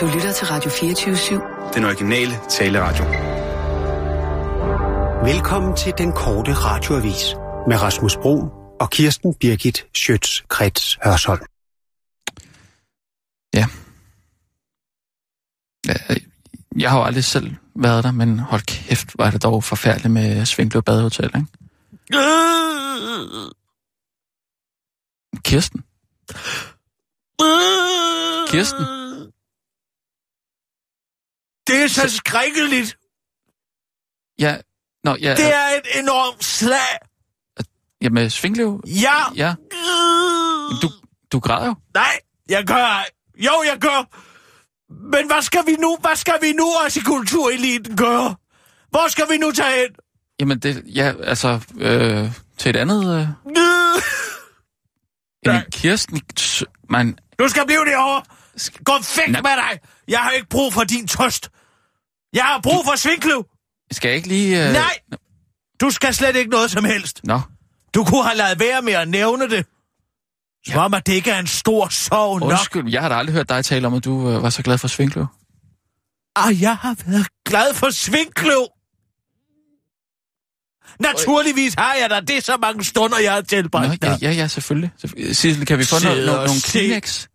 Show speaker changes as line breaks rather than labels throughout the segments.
Du lytter til Radio 24-7.
Den originale taleradio.
Velkommen til den korte radioavis med Rasmus Bro og Kirsten Birgit Schøtz-Krets Hørsholm.
Ja. Jeg har jo aldrig selv været der, men hold kæft, var det dog forfærdeligt med Svinkløv Badehotel, ikke? Kirsten. Kirsten.
Det er så skrækkeligt.
Ja, nå, ja,
Det er et enormt slag.
ja med Svinkløv.
Ja.
Ja, du, du græder jo.
Nej, jeg gør ej. Jo, jeg gør. Men hvad skal vi nu? Hvad skal vi nu også i kultureliten gøre? Hvor skal vi nu tage hen?
Jamen, det, ja, altså, øh, til et andet... Øh,
Nej.
jamen, Kirsten, s- man,
Du skal blive derovre. Gå væk
Nej.
med dig. Jeg har ikke brug for din trøst. Jeg har brug for Svinkløv.
skal jeg ikke lige... Øh,
Nej. Du skal slet ikke noget som helst.
Nå,
Du kunne have lavet være med at nævne det. Som om, at det ikke er en stor sorg nok.
undskyld, jeg har da aldrig hørt dig tale om, at du øh, var så glad for Svinkløv.
Og Ah, jeg har været glad for Svinkløv. Naturligvis har jeg da det så mange stunder, jeg har
Nå,
tilbragt
ja,
der.
ja, ja, selvfølgelig. Selvfø- Sissel, kan vi få
Sidder
noget, no,
og
nogle
se.
Kleenex?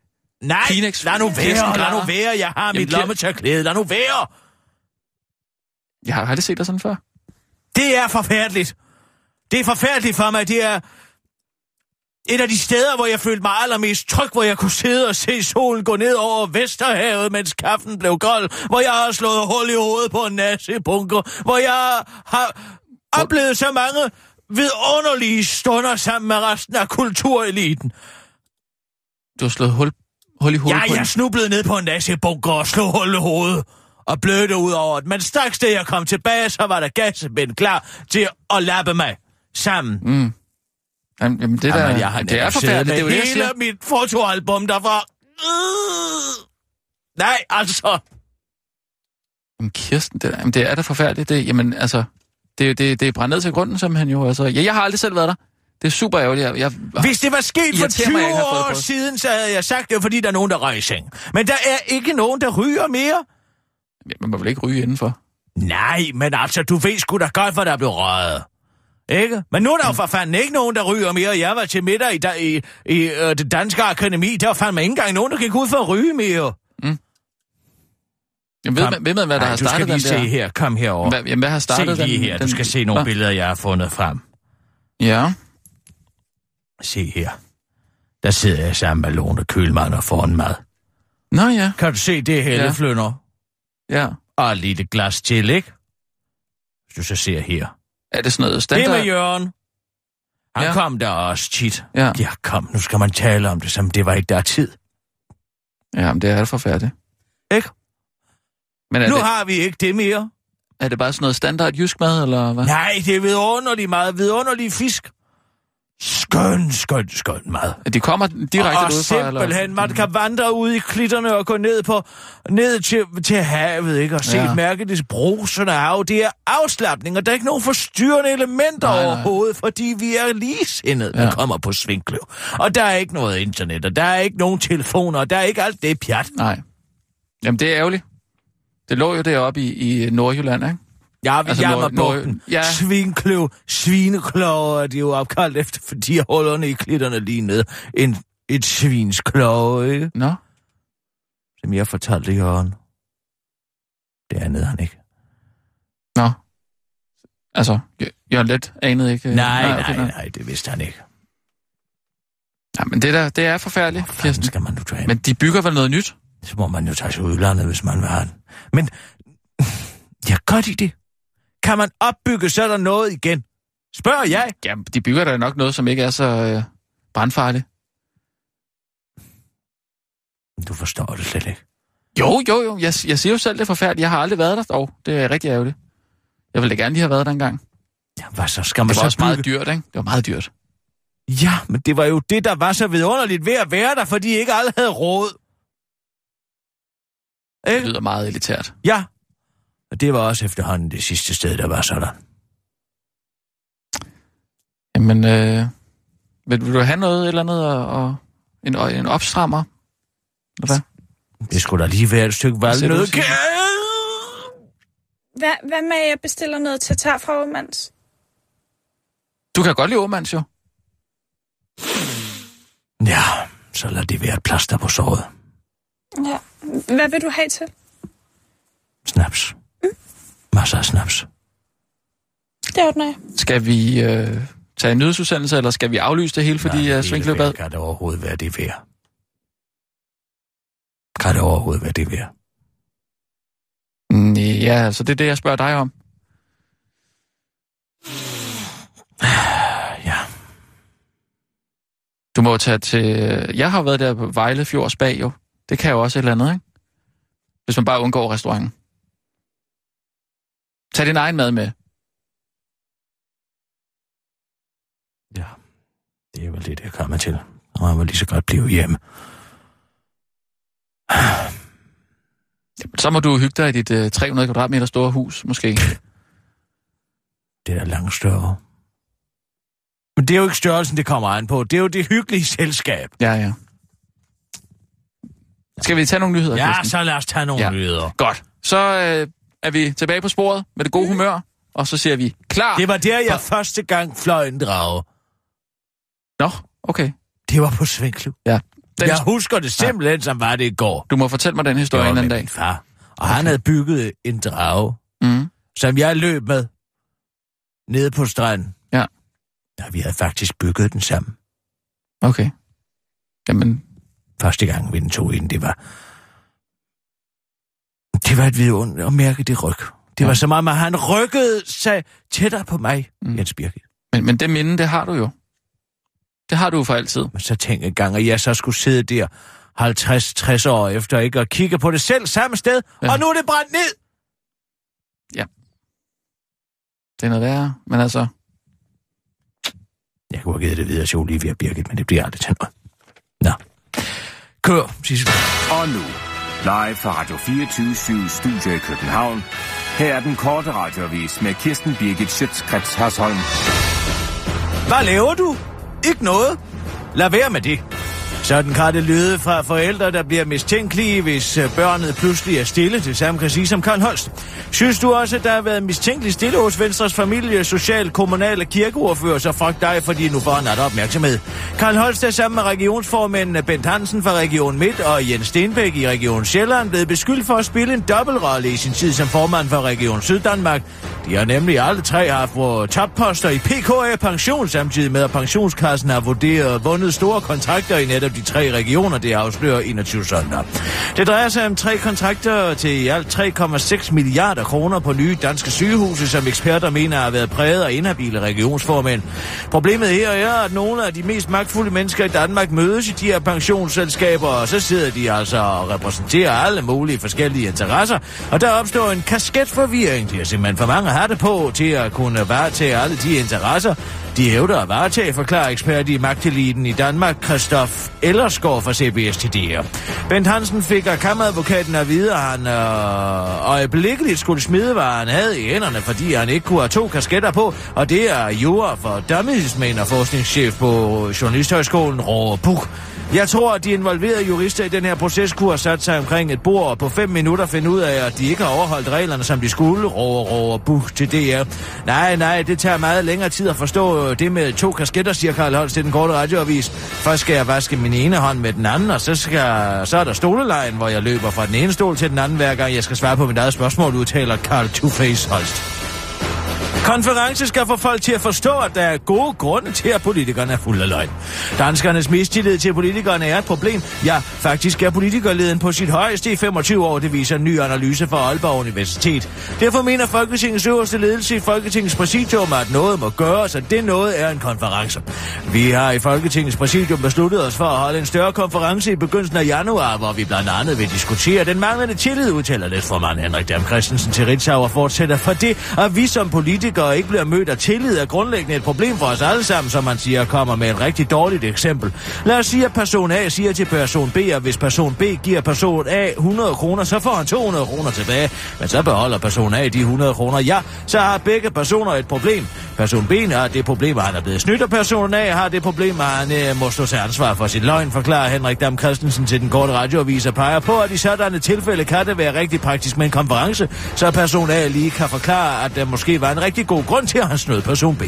Nej,
Kleenex-
lad nu være,
Kirsten
lad nu
Grader.
være. Jeg har
Jamen,
mit
Kir-
lommetørklæde, lad nu være.
Jeg har aldrig set dig sådan før.
Det er forfærdeligt. Det er forfærdeligt for mig. Det er et af de steder, hvor jeg følte mig allermest tryg, hvor jeg kunne sidde og se solen gå ned over Vesterhavet, mens kaffen blev kold, hvor jeg har slået hul i hovedet på en nassebunker, hvor jeg har oplevet så mange vidunderlige stunder sammen med resten af kultureliten.
Du har slået hul, hul i hovedet
Ja,
på
jeg
en-
snublede ned på en nassebunker og slog hul i hovedet og blødte ud over det. Men straks da jeg kom tilbage, så var der gassemænd klar til at lappe mig sammen. Mm,
Jamen, jamen, det, der,
Jamen,
jeg det er forfærdeligt. Det er jo det, jeg
hele
siger.
mit fotoalbum derfra. Øh. Nej, altså.
Jamen, Kirsten, det, er- jamen, det er da forfærdeligt. Det, jamen, altså, det, er jo- det, det er brændt ned til grunden, som han jo... Altså, ja, jeg har aldrig selv været der. Det er super ærgerligt. Jeg, jeg,
Hvis det var sket for
Irriterer
20
mig, jeg ikke har fået
år
det på.
siden, så havde jeg sagt det, var fordi der er nogen, der røg i seng. Men der er ikke nogen, der ryger mere.
Man må vel ikke ryge indenfor.
Nej, men altså, du ved sgu da godt, hvor der blev røget. Ikke? Men nu er der jo for fanden ikke nogen, der ryger mere. Jeg var til middag i, da- i, i øh, det danske akademi. Der var fandme ikke engang nogen, der gik ud for at ryge mere.
Jamen, ved,
Kom.
man, ved man, hvad der
Nej,
har
du skal
startet
lige
den
se
der...
her. Kom herover.
Hvad, jamen, hvad har startet
se lige
den?
her.
den,
Du skal se nogle
Nå,
billeder, jeg har fundet frem.
Ja.
Se her. Der sidder jeg sammen med Lone Kølmann og får en mad.
Nå ja,
Kan du se det, helleflønder? Ja.
ja.
Og et lille glas til, ikke? Hvis du så ser her.
Er det sådan noget
Det
standard?
med Jørgen.
Ja.
Han ja. kom der også tit.
Ja.
ja, kom, nu skal man tale om det, som det var ikke der er tid.
Ja, men det er alt forfærdeligt.
Ikke?
Men er,
Nu
det,
har vi ikke det mere.
er det bare sådan noget standard jysk mad, eller hvad?
Nej, det er vidunderlig mad, vidunderlig fisk. Skøn, skøn, skøn mad.
At De kommer direkte
og
ud fra, eller?
simpelthen, man kan vandre ud i klitterne og gå ned på ned til, til havet, ikke? Og se
Ja.
ja. mærke det brusende hav. Det er afslappning, og der er ikke nogen forstyrrende elementer
Nej,
nej,
nej.
overhovedet, fordi vi er ligesindede, ja.
Ja.
der kommer på Svinkløv. Og der er ikke noget internet, og der er ikke nogen telefoner, og der er ikke alt det pjat.
Nej. Jamen, det er ærgerligt. Det lå jo deroppe i, i Nordjylland, ikke?
Ja,
Altså,
vi altså, jammer
Nord-
på den.
Nord- ja.
Svinkløv, svinekloge er de jo opkaldt efter, fordi hullerne i klitterne lige ned. En, et svinskloge, ikke?
Nå?
Som jeg fortalte Jørgen. Det andet han ikke.
Nå. Altså, Jør- Jørgen Let anede ikke... øh,
Nej,
okay,
nej, nej, nej, det vidste han ikke.
Nej, men det, der, det er forfærdeligt,
Hvor fanden
Kirsten.
skal man nu tage hen?
Men de bygger vel noget nyt?
Så må man jo tage til udlandet, hvis man vil have den. Men jeg er godt i det. Kan man opbygge sådan noget igen? Spørger jeg.
Ja, de bygger der nok noget, som ikke er så øh, brandfarligt.
Du forstår det slet ikke.
Jo, jo, jo. Jeg, jeg siger jo selv, det er forfærdeligt. Jeg har aldrig været der dog. Det er rigtig ærgerligt. Jeg ville da gerne lige have været der engang.
Ja, hvad så? Skal man
Det var
så
også meget dyrt, ikke? Det var meget dyrt.
Ja, men det var jo det, der var så vidunderligt ved at være der, fordi ikke alle havde råd.
Det
Ikke?
lyder meget elitært.
Ja. Og det var også efterhånden det sidste sted, der var sådan.
Jamen, øh, vil, vil du have noget eller andet, og, og en, og en opstrammer? Eller hvad?
Det skulle da lige være et stykke valgnød.
Siger du,
Hvad, hvad med, at jeg bestiller noget tatar fra Åmands?
Du kan godt lide Åmands jo.
Ja, så lad det være et plaster på såret.
Ja. Hvad vil du have til?
Snaps. Masser af snaps.
Det ordner jeg.
Skal vi øh, tage en nyhedsudsendelse, eller skal vi aflyse det hele, fordi
Nej,
ja,
hele
uh, Svinkløbad...
verden Kan det overhovedet være det værd? Kan det overhovedet være det værd?
Mm, ja, så det er det, jeg spørger dig om.
Ja.
Du må jo tage til... øh, Jeg har jo været der på Vejle Fjords bag jo. Det kan jo også et eller andet, ikke? Hvis man bare undgår restauranten. Tag din egen mad med.
Ja. Det er vel det, det kommer til. Og man vil lige så godt blive hjemme.
Så må du hygge dig i dit øh, 300 kvadratmeter store hus, måske.
Det er da langt større. Men det er jo ikke størrelsen, det kommer an på. Det er jo det hyggelige selskab.
Ja, ja. Skal vi tage nogle nyheder?
Ja,
Kirsten?
så lad os tage nogle
Ja.
ja. nyheder.
Godt. Så øh, er vi tilbage på sporet med det gode humør, og så siger vi klar.
Mm. Det var der, jeg første gang fløj en drage.
Nå, okay.
Det var på Svinklub.
Ja. Den,
Jeg husker det simpelthen, som var det i går.
Du må fortælle mig den historie en
med
anden dag.
min far. Og han havde bygget en drage,
Mm.
som jeg løb med nede på stranden.
Ja.
Ja, vi havde faktisk bygget den sammen.
Okay. Jamen,
Første gang, vi den tog ind, det var... Det var et vidunder at mærke det ryg. Det var
Ja.
så meget, at han rykkede sig tættere på mig,
Mm.
mm. Jens Birgit.
men, men det minde, det har du jo. Det har du jo for altid.
Men så tænkte jeg engang, at jeg så skulle sidde der 50-60 år efter ikke og kigge på det selv samme sted,
Ja.
ja. og nu er det brændt ned.
Det er noget værre. Men altså,
Jeg kunne have givet det videre til Olivia Birgit, men det bliver aldrig til noget. Nå. Kør, Sissel.
Og nu, live fra Radio 24 Studio i København. Her er den korte radiovis med Kirsten Birgit Schøtzgrads Hasholm.
Hvad laver du? Ikke noget. Lad være med det. Sådan kan det lyde fra forældre, der bliver mistænkelige, hvis øh, børnet pludselig er stille. Det samme kan sige som Karl Holst. Synes du også, at der har været mistænkelig stille hos Venstres familie, social, kommunale kirkeordfører, så fuck dig, fordi nu får han alt opmærksomhed. Karl Holst er sammen med regionsformændene Bent Hansen fra Region Midt og Jens Stenbæk i Region Sjælland blevet beskyldt for at spille en dobbeltrolle i sin tid som formand for Region Syddanmark. De har nemlig alle tre haft øh, topposter i PKA Pension, samtidig med at pensionskassen har vurderet og vundet store kontrakter i netop de tre regioner, det afslører 21 søndag. Det drejer sig om tre kontrakter til i alt 3,6 milliarder kroner på nye danske sygehuse, som eksperter mener har været præget af inhabile regionsformænd. Problemet her er, at nogle af de mest magtfulde mennesker i Danmark mødes i de her pensionsselskaber, og så sidder de altså og repræsenterer alle mulige forskellige interesser, og der opstår en kasketforvirring. Det er simpelthen for mange hatte på til at kunne varetage alle de interesser, de hævder at varetage, forklarer ekspert i magteliten i Danmark, Christoph Ellersgaard fra CBS til DR. Bent Hansen fik af kammeradvokaten at vide, at han øh, øjeblikkeligt skulle smide, hvad han havde i hænderne, fordi han ikke kunne have to kasketter på, og det er jura for Dummies, mener forskningschef på Journalisthøjskolen, Roger Buch. Jeg tror, at de involverede jurister i den her proces kunne have sat sig omkring et bord og på fem minutter finde ud af, at de ikke har overholdt reglerne, som de skulle, rover, rover, buh til DR. Nej, nej, det tager meget længere tid at forstå øh, det med to kasketter, siger Karl Holst til den korte radioavis. Først skal jeg vaske min ene hånd med den anden, og så, skal, så er der stolelejen, hvor jeg løber fra den ene stol til den anden, hver gang jeg skal svare på mit eget spørgsmål, udtaler Karl Two-Face Holst. Konference skal få folk til at forstå, at der er gode grunde til, at politikerne er fulde af løgn. Danskernes mistillid til politikerne er et problem. Ja, faktisk er politikerleden på sit højeste i 25 år, det viser en ny analyse fra Aalborg Universitet. Derfor mener Folketingets øverste ledelse i Folketingets præsidium, at noget må gøres, og det noget er en konference. Vi har i Folketingets præsidium besluttet os for at holde en større konference i begyndelsen af januar, hvor vi blandt andet vil diskutere den manglende tillid, udtaler næstformand Henrik Dam Christensen til Ritzau og fortsætter for det, at vi som politikere ikke bliver mødt af tillid er grundlæggende et problem for os alle sammen, som man siger kommer med et rigtig dårligt eksempel. Lad os sige, at person A siger til person B, at hvis person B giver person A 100 kroner, så får han 200 kroner tilbage, men så beholder person A de 100 kroner. Ja, så har begge personer et problem. Person B har det problem, at han er blevet snydt, og person A har det problem, at han øh, må stå til ansvar for sin løgn, forklarer Henrik Dam Christensen til den korte radioavis og peger på, at i sådanne tilfælde kan det være rigtig praktisk med en konference, så person A lige kan forklare, at der måske var en rigtig god grund til, at han snød person B.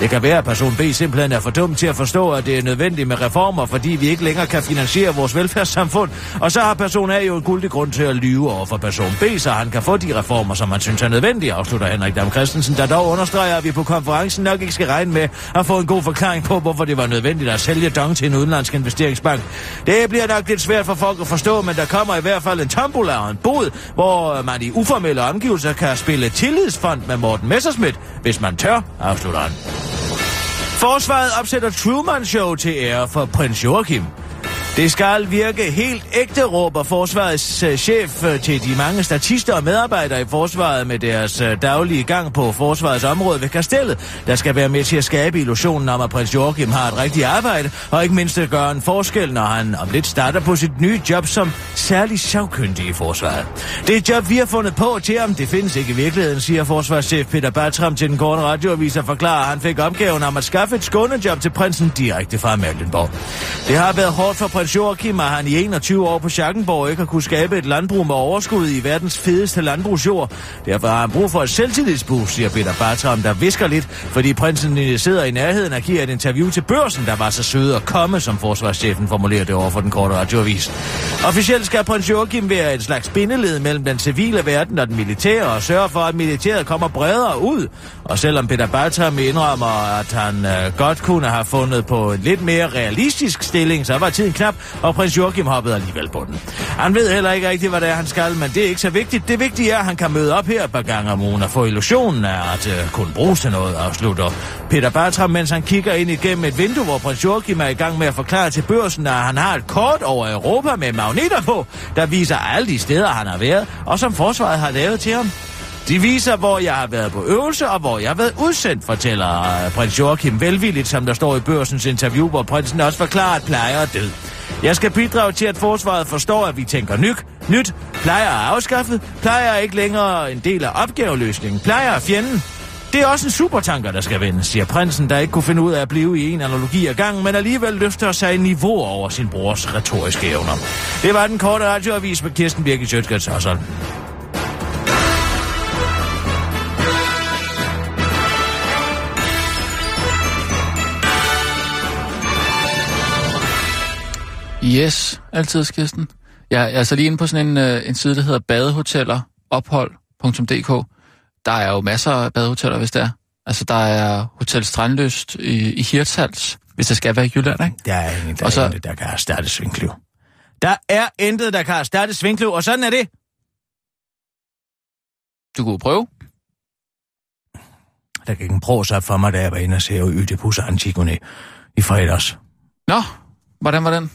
Det kan være, at person B simpelthen er for dum til at forstå, at det er nødvendigt med reformer, fordi vi ikke længere kan finansiere vores velfærdssamfund, og så har person A jo en guldig grund til at lyve over for person B, så han kan få de reformer, som han synes er nødvendige, afslutter Henrik Dam Christensen, der dog understreger, at vi på konferencen nok ikke skal regne med at få en god forklaring på, hvorfor det var nødvendigt at sælge dong til en udenlandsk investeringsbank. Det bliver nok lidt svært for folk at forstå, men der kommer i hvert fald en tombola og en bod, hvor man i uformelle omgivelser kan spille tillidsfond med Morten Messerschmidt, hvis man tør, afslutter han. Forsvaret opsætter Truman Show til ære for prins Joachim. Det skal virke helt ægte, råber forsvarets øh, chef øh, til de mange statister og medarbejdere i forsvaret med deres øh, daglige gang på forsvarets område ved kastellet, der skal være med til at skabe illusionen om, at prins Joachim har et rigtigt arbejde, og ikke mindst at gøre en forskel, når han om lidt starter på sit nye job som særlig savkyndig i forsvaret. Det er et job, vi har fundet på til ham. Det findes ikke i virkeligheden, siger forsvarschef Peter Bartram til den korte radioavis og forklarer, at han fik opgaven om at skaffe et skånejob til prinsen direkte fra Mecklenburg. Det har været hårdt for prins Joachim, at han i 21 år på Schackenborg ikke har kunne skabe et landbrug med overskud i verdens fedeste landbrugsjord. Derfor har han brug for et selvtillidsboost, siger Peter Bartram, der visker lidt, fordi prinsen øh, sidder i nærheden og giver et interview til børsen, der var så sød at komme, som forsvarschefen formulerer det over for den korte radioavis. Officielt skal prins Joachim være et slags bindeled mellem den civile verden og den militære, og sørge for, at militæret kommer bredere ud. Og selvom Peter Bartram indrømmer, at han øh, godt kunne have fundet på en lidt mere realistisk stilling, så var tiden knap, og prins Joachim hoppede alligevel på den. Han ved heller ikke rigtigt, hvad det er, han skal, men det er ikke så vigtigt. Det vigtige er, at han kan møde op her et par gange om ugen og få illusionen af at øh, kunne bruges til noget, afslutter Peter Bartram, mens han kigger ind igennem et vindue, hvor prins Joachim er i gang med at forklare til børsen, at han har et kort over Europa med magneter på, der viser alle de steder, han har været, og som forsvaret har lavet til ham. De viser, hvor jeg har været på øvelse, og hvor jeg har været udsendt, fortæller øh, prins Joachim velvilligt, som der står i børsens interview, hvor prinsen også forklarer, at plejer er død. Jeg skal bidrage til, at forsvaret forstår, at vi tænker nyt. Nyt. Plejer er afskaffet. Plejer er ikke længere en del af opgaveløsningen. Plejer er fjenden. Det er også en supertanker, der skal vendes, siger prinsen, der ikke kunne finde ud af at blive i en analogi ad gangen, men alligevel løfter sig i niveau over sin brors retoriske evner. Det var den korte radioavis med Kirsten Birgit Sjøtskats og sådan.
Yes, altid Kirsten. Jeg jeg er altså lige inde på sådan en, øh, en side, der hedder badehotellerophold.dk. Der er jo masser af badehoteller, hvis der er. Altså, der er Hotel Strandløst i, i Hirtshals, hvis det skal være i Jylland, ikke?
Der er ingen, der,
Og så-
er intet, der kan erstatte Svinkløv. Der er intet, der kan erstatte Svinkløv, og sådan er det.
Du kunne prøve.
Der gik en pros op for mig, da jeg var inde og se Ødipus og Antigone i fredags.
Nå, hvordan var den?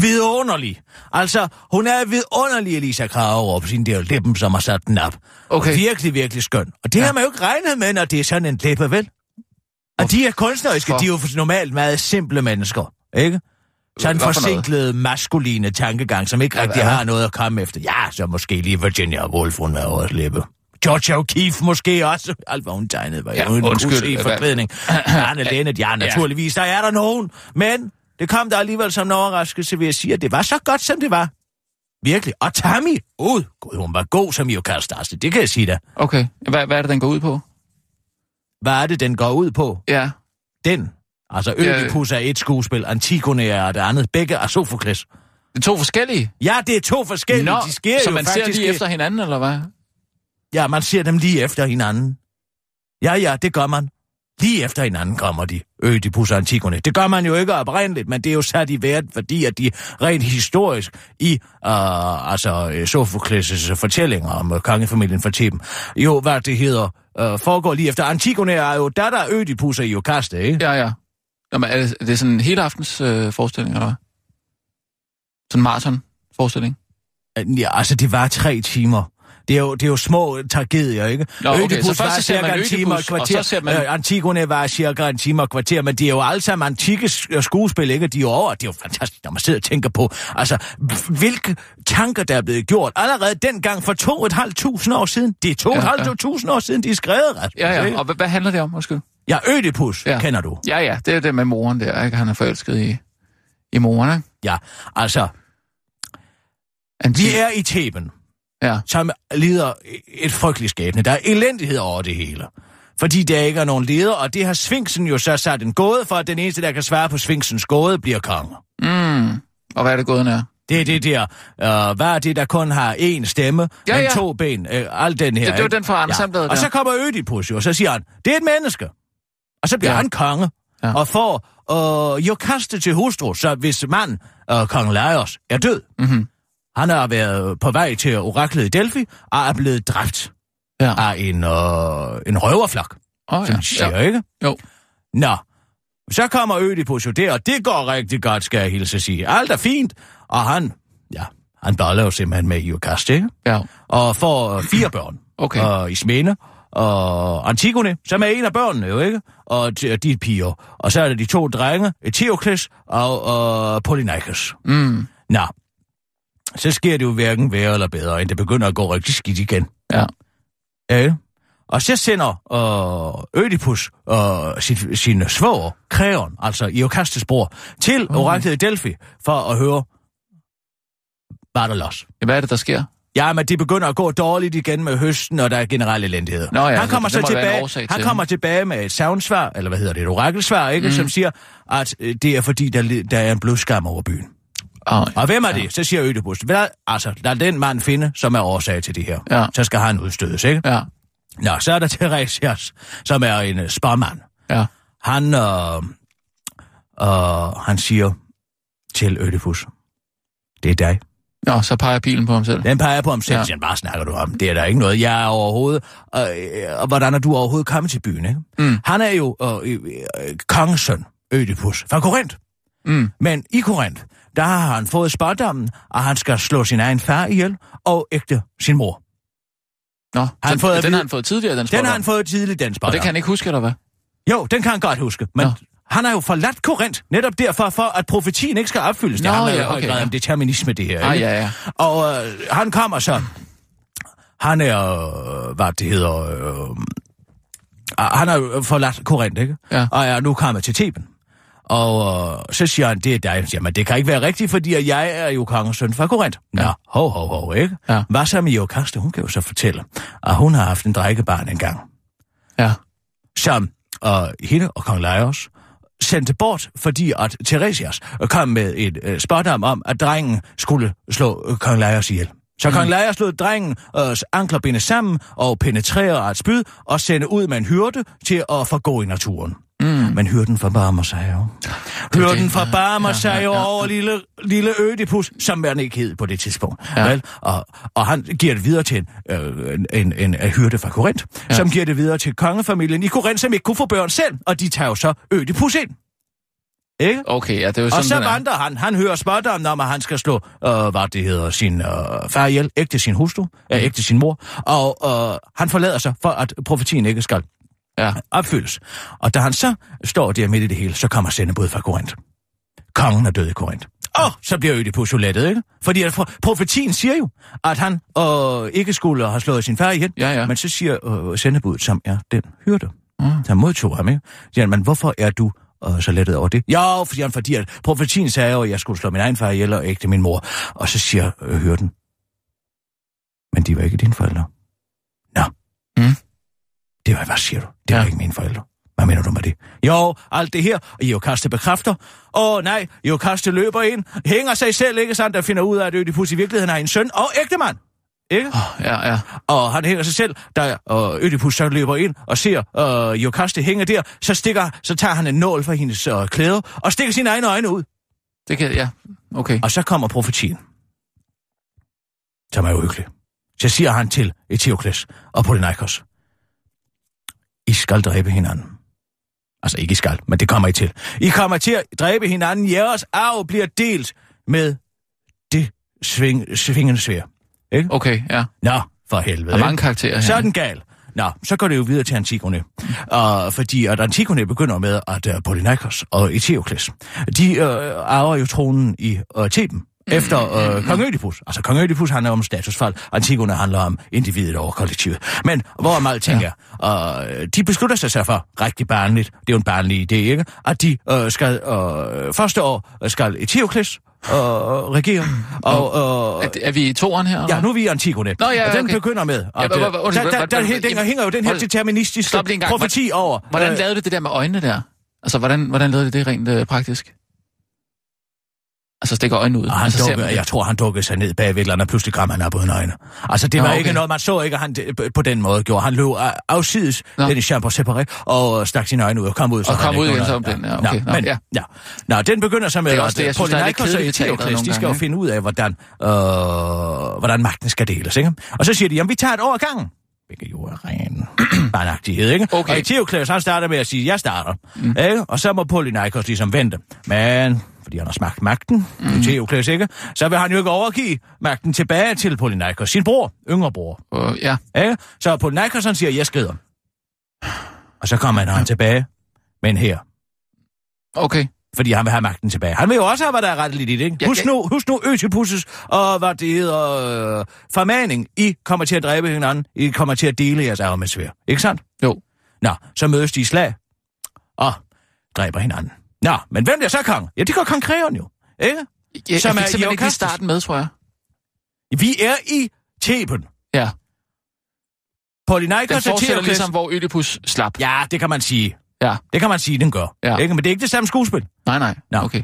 Vidunderlig. Altså, hun er vidunderlig, Elisa Kragerup, sin der læben, som har sat den op.
Okay.
Virkelig, virkelig skøn. Og det ja. har man jo ikke regnet med, når det er sådan en læbe, vel? Og de er kunstneriske,
Hvorfor?
de er jo normalt meget simple mennesker, ikke? Sådan
Hvad
en
for noget?
forsinklet, maskuline tankegang, som ikke rigtig har noget at komme efter. Ja, så måske lige Virginia Woolf, hun er jo også læbe. George O'Keefe måske også. Alt, hvad hun tegnede, var
Ja,
jo en
undskyld,
undskyld, i
hvad-
forklædning. Arne Lennet, ja, naturligvis, der er der nogen. Men det kom der alligevel som en overraskelse ved at sige, at det var så godt, som det var. Virkelig. Og Tammy, ud. Gud, hun var god som Jokal Starste, det kan jeg sige dig.
Okay, hvad, hvad er det, den går ud på?
Hvad er det, den går ud på?
Ja,
Den. Altså,
Ja.
Ødipus er et skuespil, Antigone er det andet. Begge er Sofokles.
det er to forskellige.
Ja, det er to forskellige.
Nå,
de sker
så
jo
man ser
faktisk
lige
i-
efter hinanden, eller hvad?
Ja, man ser dem lige efter hinanden. Ja, ja, det gør man. Lige efter hinanden kommer de, Ødipus og Antigone. Det gør man jo ikke oprindeligt, men det er jo sat i værd, fordi at de rent historisk i øh, altså, øh, Sofokles' fortællinger om øh, kongefamilien fra Theben, jo, hvad det hedder, øh, foregår lige efter. Antigone er jo datter af Ødipus og Iokaste, ikke?
Ja, ja. Jamen, er, det, er det sådan en hele aftens øh, forestilling, eller hvad? Sådan en maraton-forestilling?
Ja, altså, det var tre timer. Det er, jo, det er jo små tragedier, ikke?
Nå, okay, så først
var
så ser
cirka
man
en time
Ødipus,
og et
og
kvarter.
så ser man-
Øh, Antigone var cirka en time og et kvarter, men det er jo alle sammen antikke s- øh, skuespil, ikke? De er jo over, det er jo fantastisk, når man sidder og tænker på, altså, h- hvilke tanker, der er blevet gjort allerede dengang for 2.500 år siden. Det er 2.500
Ja,
år siden, de er skrevet, Rasmus,
Ja, ja.
ikke?
Og hvad, hvad handler det om, måske?
Ja, Ødipus
Ja.
ja. kender du.
Ja, ja, det er det med moren der, ikke? Han er forelsket i, i moren, ikke?
Ja, altså,
Anti-
vi er i Theben,
Ja,
som lider et frygteligt skæbne. Der er elendighed over det hele. Fordi der ikke er nogen leder, og det har Sfinksen jo så sat en gåde for, at den eneste, der kan svare på Sfinksens gåde, bliver konge.
mm. Og hvad er det gået nær?
Det er det der, øh, hvad er det, der kun har én stemme,
Ja,
ja, men
ja.
ja. to ben, øh, al den her.
Det- det var
ikke?
den fra Anders Sandbladet,
Og
ja.
så kommer Ødipus jo, og så siger han, det er et menneske. Og så bliver
Ja.
ja. han konge,
Ja.
ja. og får øh, jo kastet til hustru, så hvis mand, øh, kong Laios, er død.
Mhm.
Han har været på vej til oraklet i Delphi, og er blevet dræbt
Ja.
af en, øh, en røverflok,
Åh,
som de
ja.
siger,
ja.
ikke?
Jo.
Nå, så kommer Ødipus jo der, og det går rigtig godt, skal jeg hilse at sige. Alt er fint, og han, ja, han boller jo simpelthen med Iokast, ikke?
ja.
Og får øh, fire børn.
Okay.
Og Ismene og Antigone, som er en af børnene jo, ikke? Og t- og de er piger. Og så er der de to drenge, Eteokles og, og Polynikos.
Mm.
Nå, så sker det jo hverken værre eller bedre, end det begynder at gå rigtig skidt igen.
Ja.
Ja. Og så sender øh, Ødipus øh, sit, sin svoger, Kreon, altså Iokastes bror, til
Okay.
oraklet i Delphi for at høre, hvad er der los?
Hvad er det, der sker?
Ja, men det begynder at gå dårligt igen med høsten, og der er generelle elendighed.
Nå ja,
han
så
kommer
der må
så
være en
tilbage,
årsag
han
til
kommer
det.
tilbage med et savnsvar, eller hvad hedder det, et orakelsvar, ikke, mm. som siger, at øh, det er fordi, der, li- der er en blodskam over byen.
Oh,
Og hvem er det? Så siger Ødipus, "Hvad- altså, lad den mand finde, som er årsag til det her.
Ja.
Så skal han udstødes, ikke?
ja.
Nå, så er der Theresias, som er en uh, sparmand.
Ja.
Han, øh, øh, han siger til Ødipus, det er dig.
Nå, så peger pilen på ham selv.
Den peger på ham selv.
Ja.
Ja. Siger, bare snakker du om? Det er der ikke noget. Jeg er overhovedet... Øh, øh, og hvordan er du overhovedet kommet til byen, ikke?
Mm.
Han er jo øh, øh, øh, kongesøn, Ødipus, fra Korinth.
Mm.
Men i Korinth, der har han fået spådommen, og han skal slå sin egen far ihjel og ægte sin mor.
Nå,
han
den,
fået at
den
vide-
har han fået tidligere, den
Den
spådom.
har han fået tidligt, den
Og
spådom.
det kan han ikke huske, eller hvad?
Jo, den kan han godt huske, men
Nå.
Nå. han har jo forladt Korinth, netop derfor, for at profetien ikke skal opfyldes.
Nå,
det handler
ja,
jo i høj
okay,
grad
ja.
om determinisme, det her.
Ah,
ikke?
ja, ja.
Og øh, han kommer så. Han er, øh, hvad det hedder, øh, ah, han har jo forladt Korinth, ikke?
Ja.
Og er nu kommet til Theben. Og øh, så siger han, det er dig. Jeg siger, men det kan ikke være rigtigt, fordi jeg er jo kongens søn fra Korinth. Ja. Nå, ho, ho, ho, ikke?
Ja.
Hvad så med Jokaste? Hun kan jo så fortælle, at hun har haft en drikkebarn engang
Ja.
som og hende og kong Laios sendte bort, fordi at Theresias kom med et øh, spådom om, at drengen skulle slå øh, kong Laios ihjel. Så kong Laios slog drengen øh, ankler binde sammen og penetrerede af et spyd og sendte ud med en hyrde til at forgå i naturen. Mm. Men hyrden forbarmer sig jo. Hyrden
det.
forbarmer
Ja,
ja,
ja,
sig jo
ja.
over lille, lille Ødipus, som man ikke hed på det tidspunkt. Ja. Vel? Og, og han giver det videre til en, øh, en, en, en hyrde fra Korinth, ja. som giver det videre til kongefamilien i Korinth, som ikke kunne få børn selv, og de tager jo så Ødipus ind. Ikke?
Okay, ja, det er jo
Og så
sådan, den er.
vandrer han. Han hører spådommen om, at han skal slå, øh, hvad det hedder, sin øh, far ihjel, ægte sin hustru, øh, ægte sin mor, og øh, han forlader sig for, at profetien ikke skal
Ja.
opfyldes. Og da han så står der midt i det hele, så kommer sendebud fra Korinth. Kongen er død i Korinth. Og så bliver Ødipus jo lettet, ikke? Fordi at pro- profetien siger jo, at han øh, ikke skulle have slået sin far ihjel.
Ja, ja. Ah.
Men så siger øh, sendebuddet, som er den hyrde, mm. der modtog ham, ikke? Så Siger han, men hvorfor er du øh, så lettet over det? Ja, fordi, han, fordi at profetien sagde jo, at jeg skulle slå min egen far ihjel og ægte min mor. Og så siger øh, hyrden, men de var ikke dine forældre. Nå.
Mm.
Det var, hvad siger du? Det var
Ja.
ikke mine forældre. Hvad mener du med det? Jo, alt det her, og Iokaste bekræfter. Åh nej, Iokaste løber ind, hænger sig selv, ikke sandt, der finder ud af, at Ødipus i virkeligheden har en søn og ægtemand. Ikke?
Ja, ja.
Og han hænger sig selv, da og Ødipus så løber ind og ser øh, Iokaste hænge der, så, stikker, så tager han en nål fra hendes øh, klæder og stikker sine egne øjne ud.
Det kan, ja. Okay.
Og så kommer profetien, som er uhyggelig. Så siger han til Eteokles og Polynikos, I skal dræbe hinanden. Altså ikke I skal, men det kommer I til. I kommer til at dræbe hinanden. Jeres arv bliver delt med det sving, svingende svær.
Okay, ja.
Nå, for helvede.
Der er
ikke?
mange karakterer her.
Så er den gal. Nå, så går det jo videre til Antigone. Uh, fordi at Antigone begynder øh, med, at uh, Polynikos og Eteokles, de uh, arver jo tronen i uh, Theben. efter øh, Kong Ødipus. Altså, Kong Ødipus handler om statusfald, Antigone handler om individet over kollektivet. Men hvorom alting ja. er, øh, de beslutter sig så for, rigtig barnligt, det er jo en barnlig idé, ikke? At de øh, skal, øh, første år skal Etiokles øh, regere, og...
Er,
Øh,
det- er vi i toren her? eller
Ja, nu er vi i Antigone.
Nå, ja,
Og den
okay.
begynder med.
Ja,
at,
hvor-
øh,
hvor- undskyld,
der- der-
hvor-
der-
hvor-
Den hænger jo den her
hold-
deterministiske
Stop lige en gang.
profeti over.
Hvordan
øh,
lavede du det der med øjnene der? Altså, hvordan, hvordan lavede du det rent øh, praktisk? Altså, stikker øjnene ud.
Og han
altså, ser man
dukkede,
det?
jeg tror, han dukkede sig ned bag ved et eller andet, og pludselig kram han op uden øjne. Altså, det
Nå,
var okay.
okay.
ikke noget, man så ikke, at han d- på- på den måde gjorde. Han løb af- afsides,
Nå.
den i chambre separé, og stak sine øjne ud og kom ud. så
Og
han
kom
ikke
ud igen,
kunne
så
noget.
om den, ja, okay.
Nå,
Nå,
men, ja.
ja.
Nå, den begynder så med,
Det er også det, jeg
at
synes, der er lidt
Polynikos og
kedeligt i teatret
Eteokles, de
nogle
skal jo
gange,
finde ud af, hvordan, øh, hvordan magten skal deles, ikke? Og så siger de, jamen, vi tager et år ad gangen. Hvilket jo er ren barnagtighed, ikke?
Okay.
Og Eteokles, han starter med at sige, jeg starter. Mm. Ikke? Og så må Polynikos ligesom vente. Men fordi han har smagt magten, mm. Eteokles ikke, så vil han jo ikke overgive magten tilbage til Polynikos, sin bror, yngre bror.
Og, ja.
Ikke? Så Polynikos han siger, jeg skrider. Og så kommer han, han tilbage, men her,
Okay.
fordi han vil have magten tilbage. Han vil jo også have, hvad der er retteligt i det, ikke?
Ja,
husk,
det-
nu, husk nu Øtipusses og hvad det hedder øh, formaning. I kommer til at dræbe hinanden. I kommer til at dele jeres arv med svær. Ikke sandt?
Jo.
Nå, så mødes de i slag og dræber hinanden. Nå, men hvem bliver så kong? Ja, det går kong Kreon jo. Ikke?
Jeg, jeg,
Som
jeg
er
fik simpelthen ikke lige
Iokastes.
starten med, tror jeg.
Vi er i Theben.
Ja. Den
Polynikos og
fortsætter
Theokles.
ligesom, hvor Ødipus slap.
Ja, det kan man sige.
Ja.
Det kan man sige, den gør.
Ja.
Ikke? Men det er ikke det samme skuespil.
Nej, nej.
Nå.
Okay.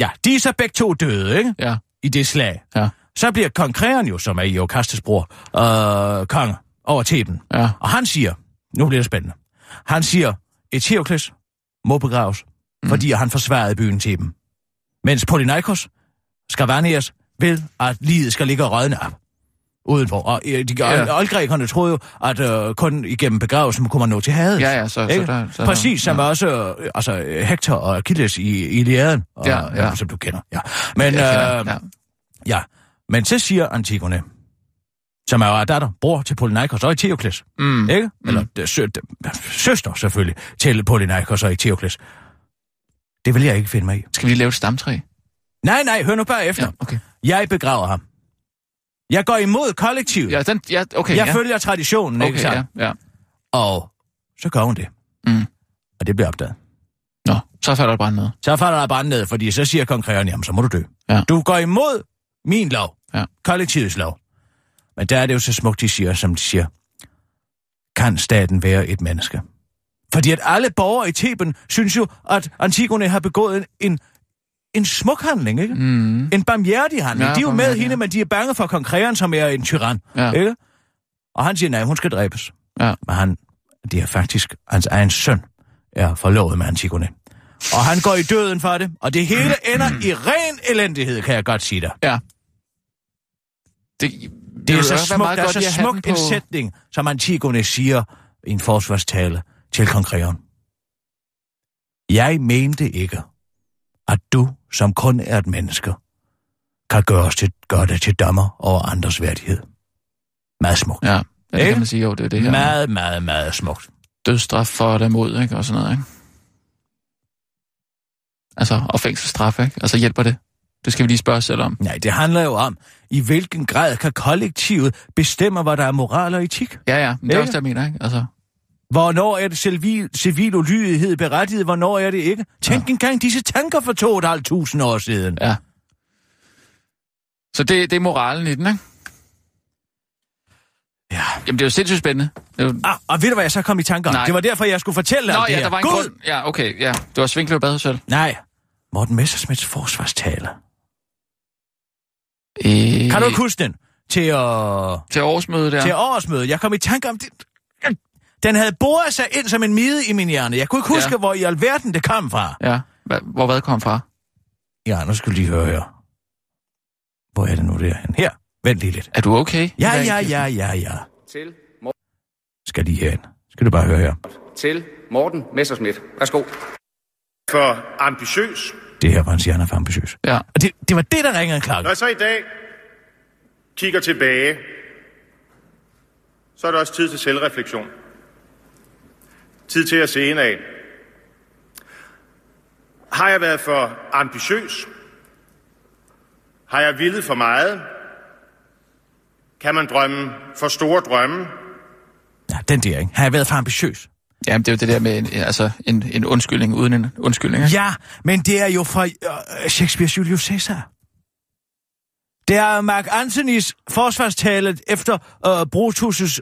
Ja, de er så begge to døde, ikke?
Ja.
I det slag.
Ja.
Så bliver kong Kreon jo, som er Iokastes bror, øh, kong over Theben.
Ja.
Og han siger, nu bliver det spændende, han siger, Eteokles må begraves, mm. fordi han forsvarede byen Theben. Mens Polynikos skal vaneres ved, at livet skal ligge og rådne op udenfor. Og øh, de,
Ja.
ja. oldgrækerne troede jo, at øh, kun igennem begravelsen kunne man nå til Hades.
Ja, ja, så, så,
Ikke?
Altså, der, så
Præcis, som
ja.
også øh, altså, Hector og Achilles i Iliaden, og, øh,
Ja, ja.
som du kender. Ja. Men,
Jeg kender,
øh,
ja.
ja. Men så siger Antigone, som er jo er datter, bror til Polynikos og Eteokles,
Mm.
ikke? Eller øh, sø, øh, søster selvfølgelig til Polynikos og Eteokles. Det vil jeg ikke finde mig i.
Skal vi lige lave et stamtræ?
Nej, nej, hør nu bare efter.
Ja, okay.
Ja. Jeg begraver ham. Jeg går imod kollektivet.
Ja,
Ja,
den, ja, okay,
jeg
ja.
følger traditionen, okay, ikke
okay,
sant?
ja, ja.
Og så gør hun det.
Mm.
Og det bliver opdaget.
Nå, så falder der brand ned.
Så falder der brand ned, fordi så siger kong Kreon, jamen så må du dø.
Ja.
Du går imod min lov,
Ja.
kollektivets lov. Men der er det jo så smukt, de siger, som de siger, kan staten være et menneske? Fordi at alle borgere i Theben synes jo, at Antigone har begået en, en, en smuk handling, ikke?
Mm.
Mm-hmm. En barmhjertig handling.
Ja,
Ja, de er jo med
barmhjertig,
hende,
ja.
men de er bange for kong Kreon, som er en tyran,
Ja.
ikke? Og han siger, nej, hun skal dræbes.
Ja.
Men han, det er faktisk hans egen søn, er forlovet med Antigone. Og han går i døden for det, og det hele ender i ren elendighed, kan jeg godt sige dig.
Ja. Det,
Det er så smukt, det er så smuk en sætning, som Antigone siger i en forsvarstale til kong Kreon. Jeg mente ikke, at du, som kun er et menneske, kan gøre, os til, gøre dig til dommer over andres værdighed. Meget smukt.
Ja, ja det
Ikke?
kan man sige, jo, det er det
Ja.
her. med
Meget, meget, meget smukt.
Dødsstraf for dem mod, ikke? Og sådan noget, ikke? Altså, og fængselsstraf, ikke? Altså, hjælper det? Det skal vi lige spørge os selv om.
Nej, det handler jo om, i hvilken grad kan kollektivet bestemme, hvad der er moral og etik?
Ja, ja, men det er
Ikke?
også det, jeg mener, ikke? Altså,
Hvornår er det civil, civil ulydighed berettiget, hvornår er det ikke? Tænk ja. engang disse tanker for 2.500 år siden.
ja. Så det, det er moralen i den, ikke?
Ja.
Jamen, det er jo sindssygt spændende. Det er jo...
Ah, og ved du, hvad jeg så kom i tanker om?
Nej.
Det var derfor, jeg skulle fortælle dig
Nå,
om det
ja,
her.
der var en
Gud!
grund. Ja, okay, ja. Det var Svinkløv Badhøjsel.
Nej, Morten Messersmiths forsvarstale.
Øh,
Kan du ikke huske den? Til, øh,
Til årsmødet der.
til årsmødet. Jeg kom i tanke om det. Den havde boret sig ind som en mide i min hjerne. Jeg kunne ikke huske,
Ja.
ja. hvor i alverden det kom fra.
Ja, Hva, hvor hvad kom fra?
Ja, nu skal du lige høre her. Hvor er det nu, det er hen? Her, vent lige lidt.
Er du okay?
Ja,
Hvad er
ja,
det?
ja, ja, ja.
til,
Skal lige herind. Skal du bare høre her.
til Morten Messerschmidt. Værsgo.
for ambitiøs.
Det her var en siger, han er for ambitiøs.
Ja.
Og det, det var det, der ringede en klokke.
Når jeg så i dag kigger tilbage, så er det også tid til selvreflektion. Tid til at se ind af. Har jeg været for ambitiøs? Har jeg villet for meget? Kan man drømme for store drømme?
Ja, den der, ikke? Har jeg været for ambitiøs?
Jamen, det er jo det der med en, altså, en, en undskyldning uden en undskyldning. Ikke?
Ja, men det er jo fra øh, Shakespeare's Julius Caesar. Det er Mark Anthony's forsvarstale efter øh, Brutus'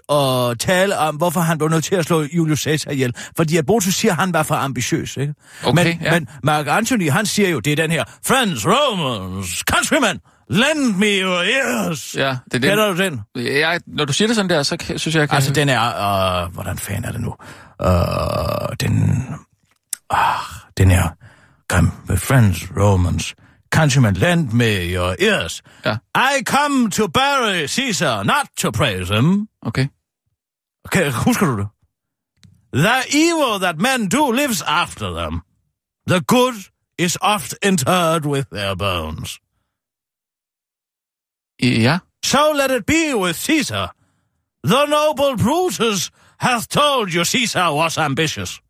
øh, tale om, hvorfor han var nødt til at slå Julius Caesar ihjel. Fordi at Brutus siger, at han var for ambitiøs, ikke?
Okay,
men,
ja.
men Mark Anthony, han siger jo, det er den her, Friends, Romans, countrymen, lend me your ears.
Ja, det er
Kender
det.
du den?
Jeg, når du siger det sådan der, så kan, synes jeg, jeg kan...
Altså, den er... Øh, hvordan fanden er det nu? Øh, den... Ah, den er... Come with friends, Romans. Countrymen, lend me your ears.
Ja.
I come to bury Caesar, not to praise him.
Okay.
Okay, husker du det? The evil that men do lives after them. The good is oft interred with their bones.
Ja.
So let it be with Caesar. The noble Brutus hath told you Caesar was ambitious.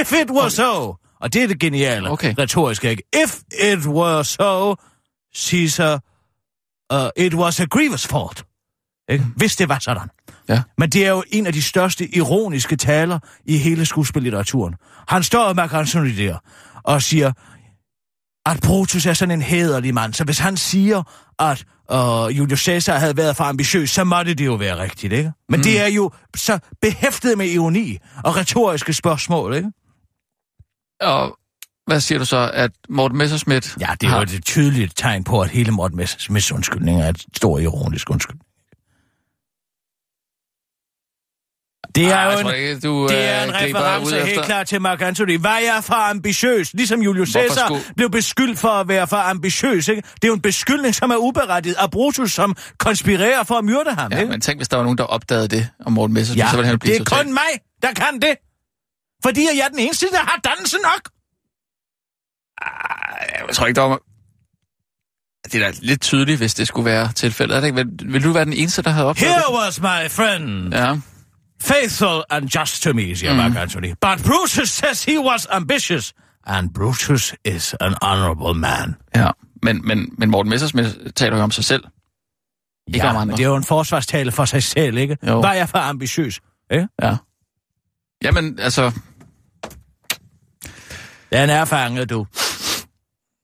If it were so, og det er det geniale
Okay.
retoriske, ikke? If it were so, Caesar, uh, it was a grievous fault. Ikke? Hvis det var sådan.
Mm. Ja.
Men det er jo en af de største ironiske taler i hele skuespillitteraturen. Han står med Anthony der og siger, at Brutus er sådan en hederlig mand, så hvis han siger, at øh, Julius Caesar havde været for ambitiøs, så måtte det jo være rigtigt, ikke? Men mm. det er jo så behæftet med ironi og retoriske spørgsmål, ikke?
Og hvad siger du så, at Morten Messerschmidt...
Ja, det er jo
har-
et tydeligt tegn på, at hele Morten Messersmiths undskyldning er et stort ironisk undskyld. Det er
Ej,
jo
jeg
en,
tror ikke, du
det er
øh,
en
griber ud
reference
efter.
helt klart til Mark Antony. Var jeg for ambitiøs? Ligesom Julius
Hvorfor
Caesar
skulle-
blev beskyldt for at være for ambitiøs. Ikke? Det er jo en beskyldning, som er uberettiget. Og Brutus, som konspirerer for at myrde ham.
Ja,
ikke?
men tænk, hvis der var nogen, der opdagede det om Morten Messerschmidt, ja, så ville han jo blive
det er
totalt-
kun mig, der kan det. Fordi jeg er den eneste, der har dansen nok.
Jeg tror ikke, der var... Det er da lidt tydeligt, hvis det skulle være tilfældet. Er det ikke? Vil, vil du være den eneste, der havde opdaget
Here was my friend.
det? Ja.
faithful and just to me, siger mm. Mark Antony. But Brutus says he was ambitious, and Brutus is an honorable man.
ja. Men, men, men Morten Messerschmidt taler jo om sig selv. Ikke om
men
andre.
det er jo en forsvarstale for sig selv, ikke?
Jo.
Var jeg for ambitiøs? Eh?
Ja. Jamen, altså,
Den er fanget, du.
det er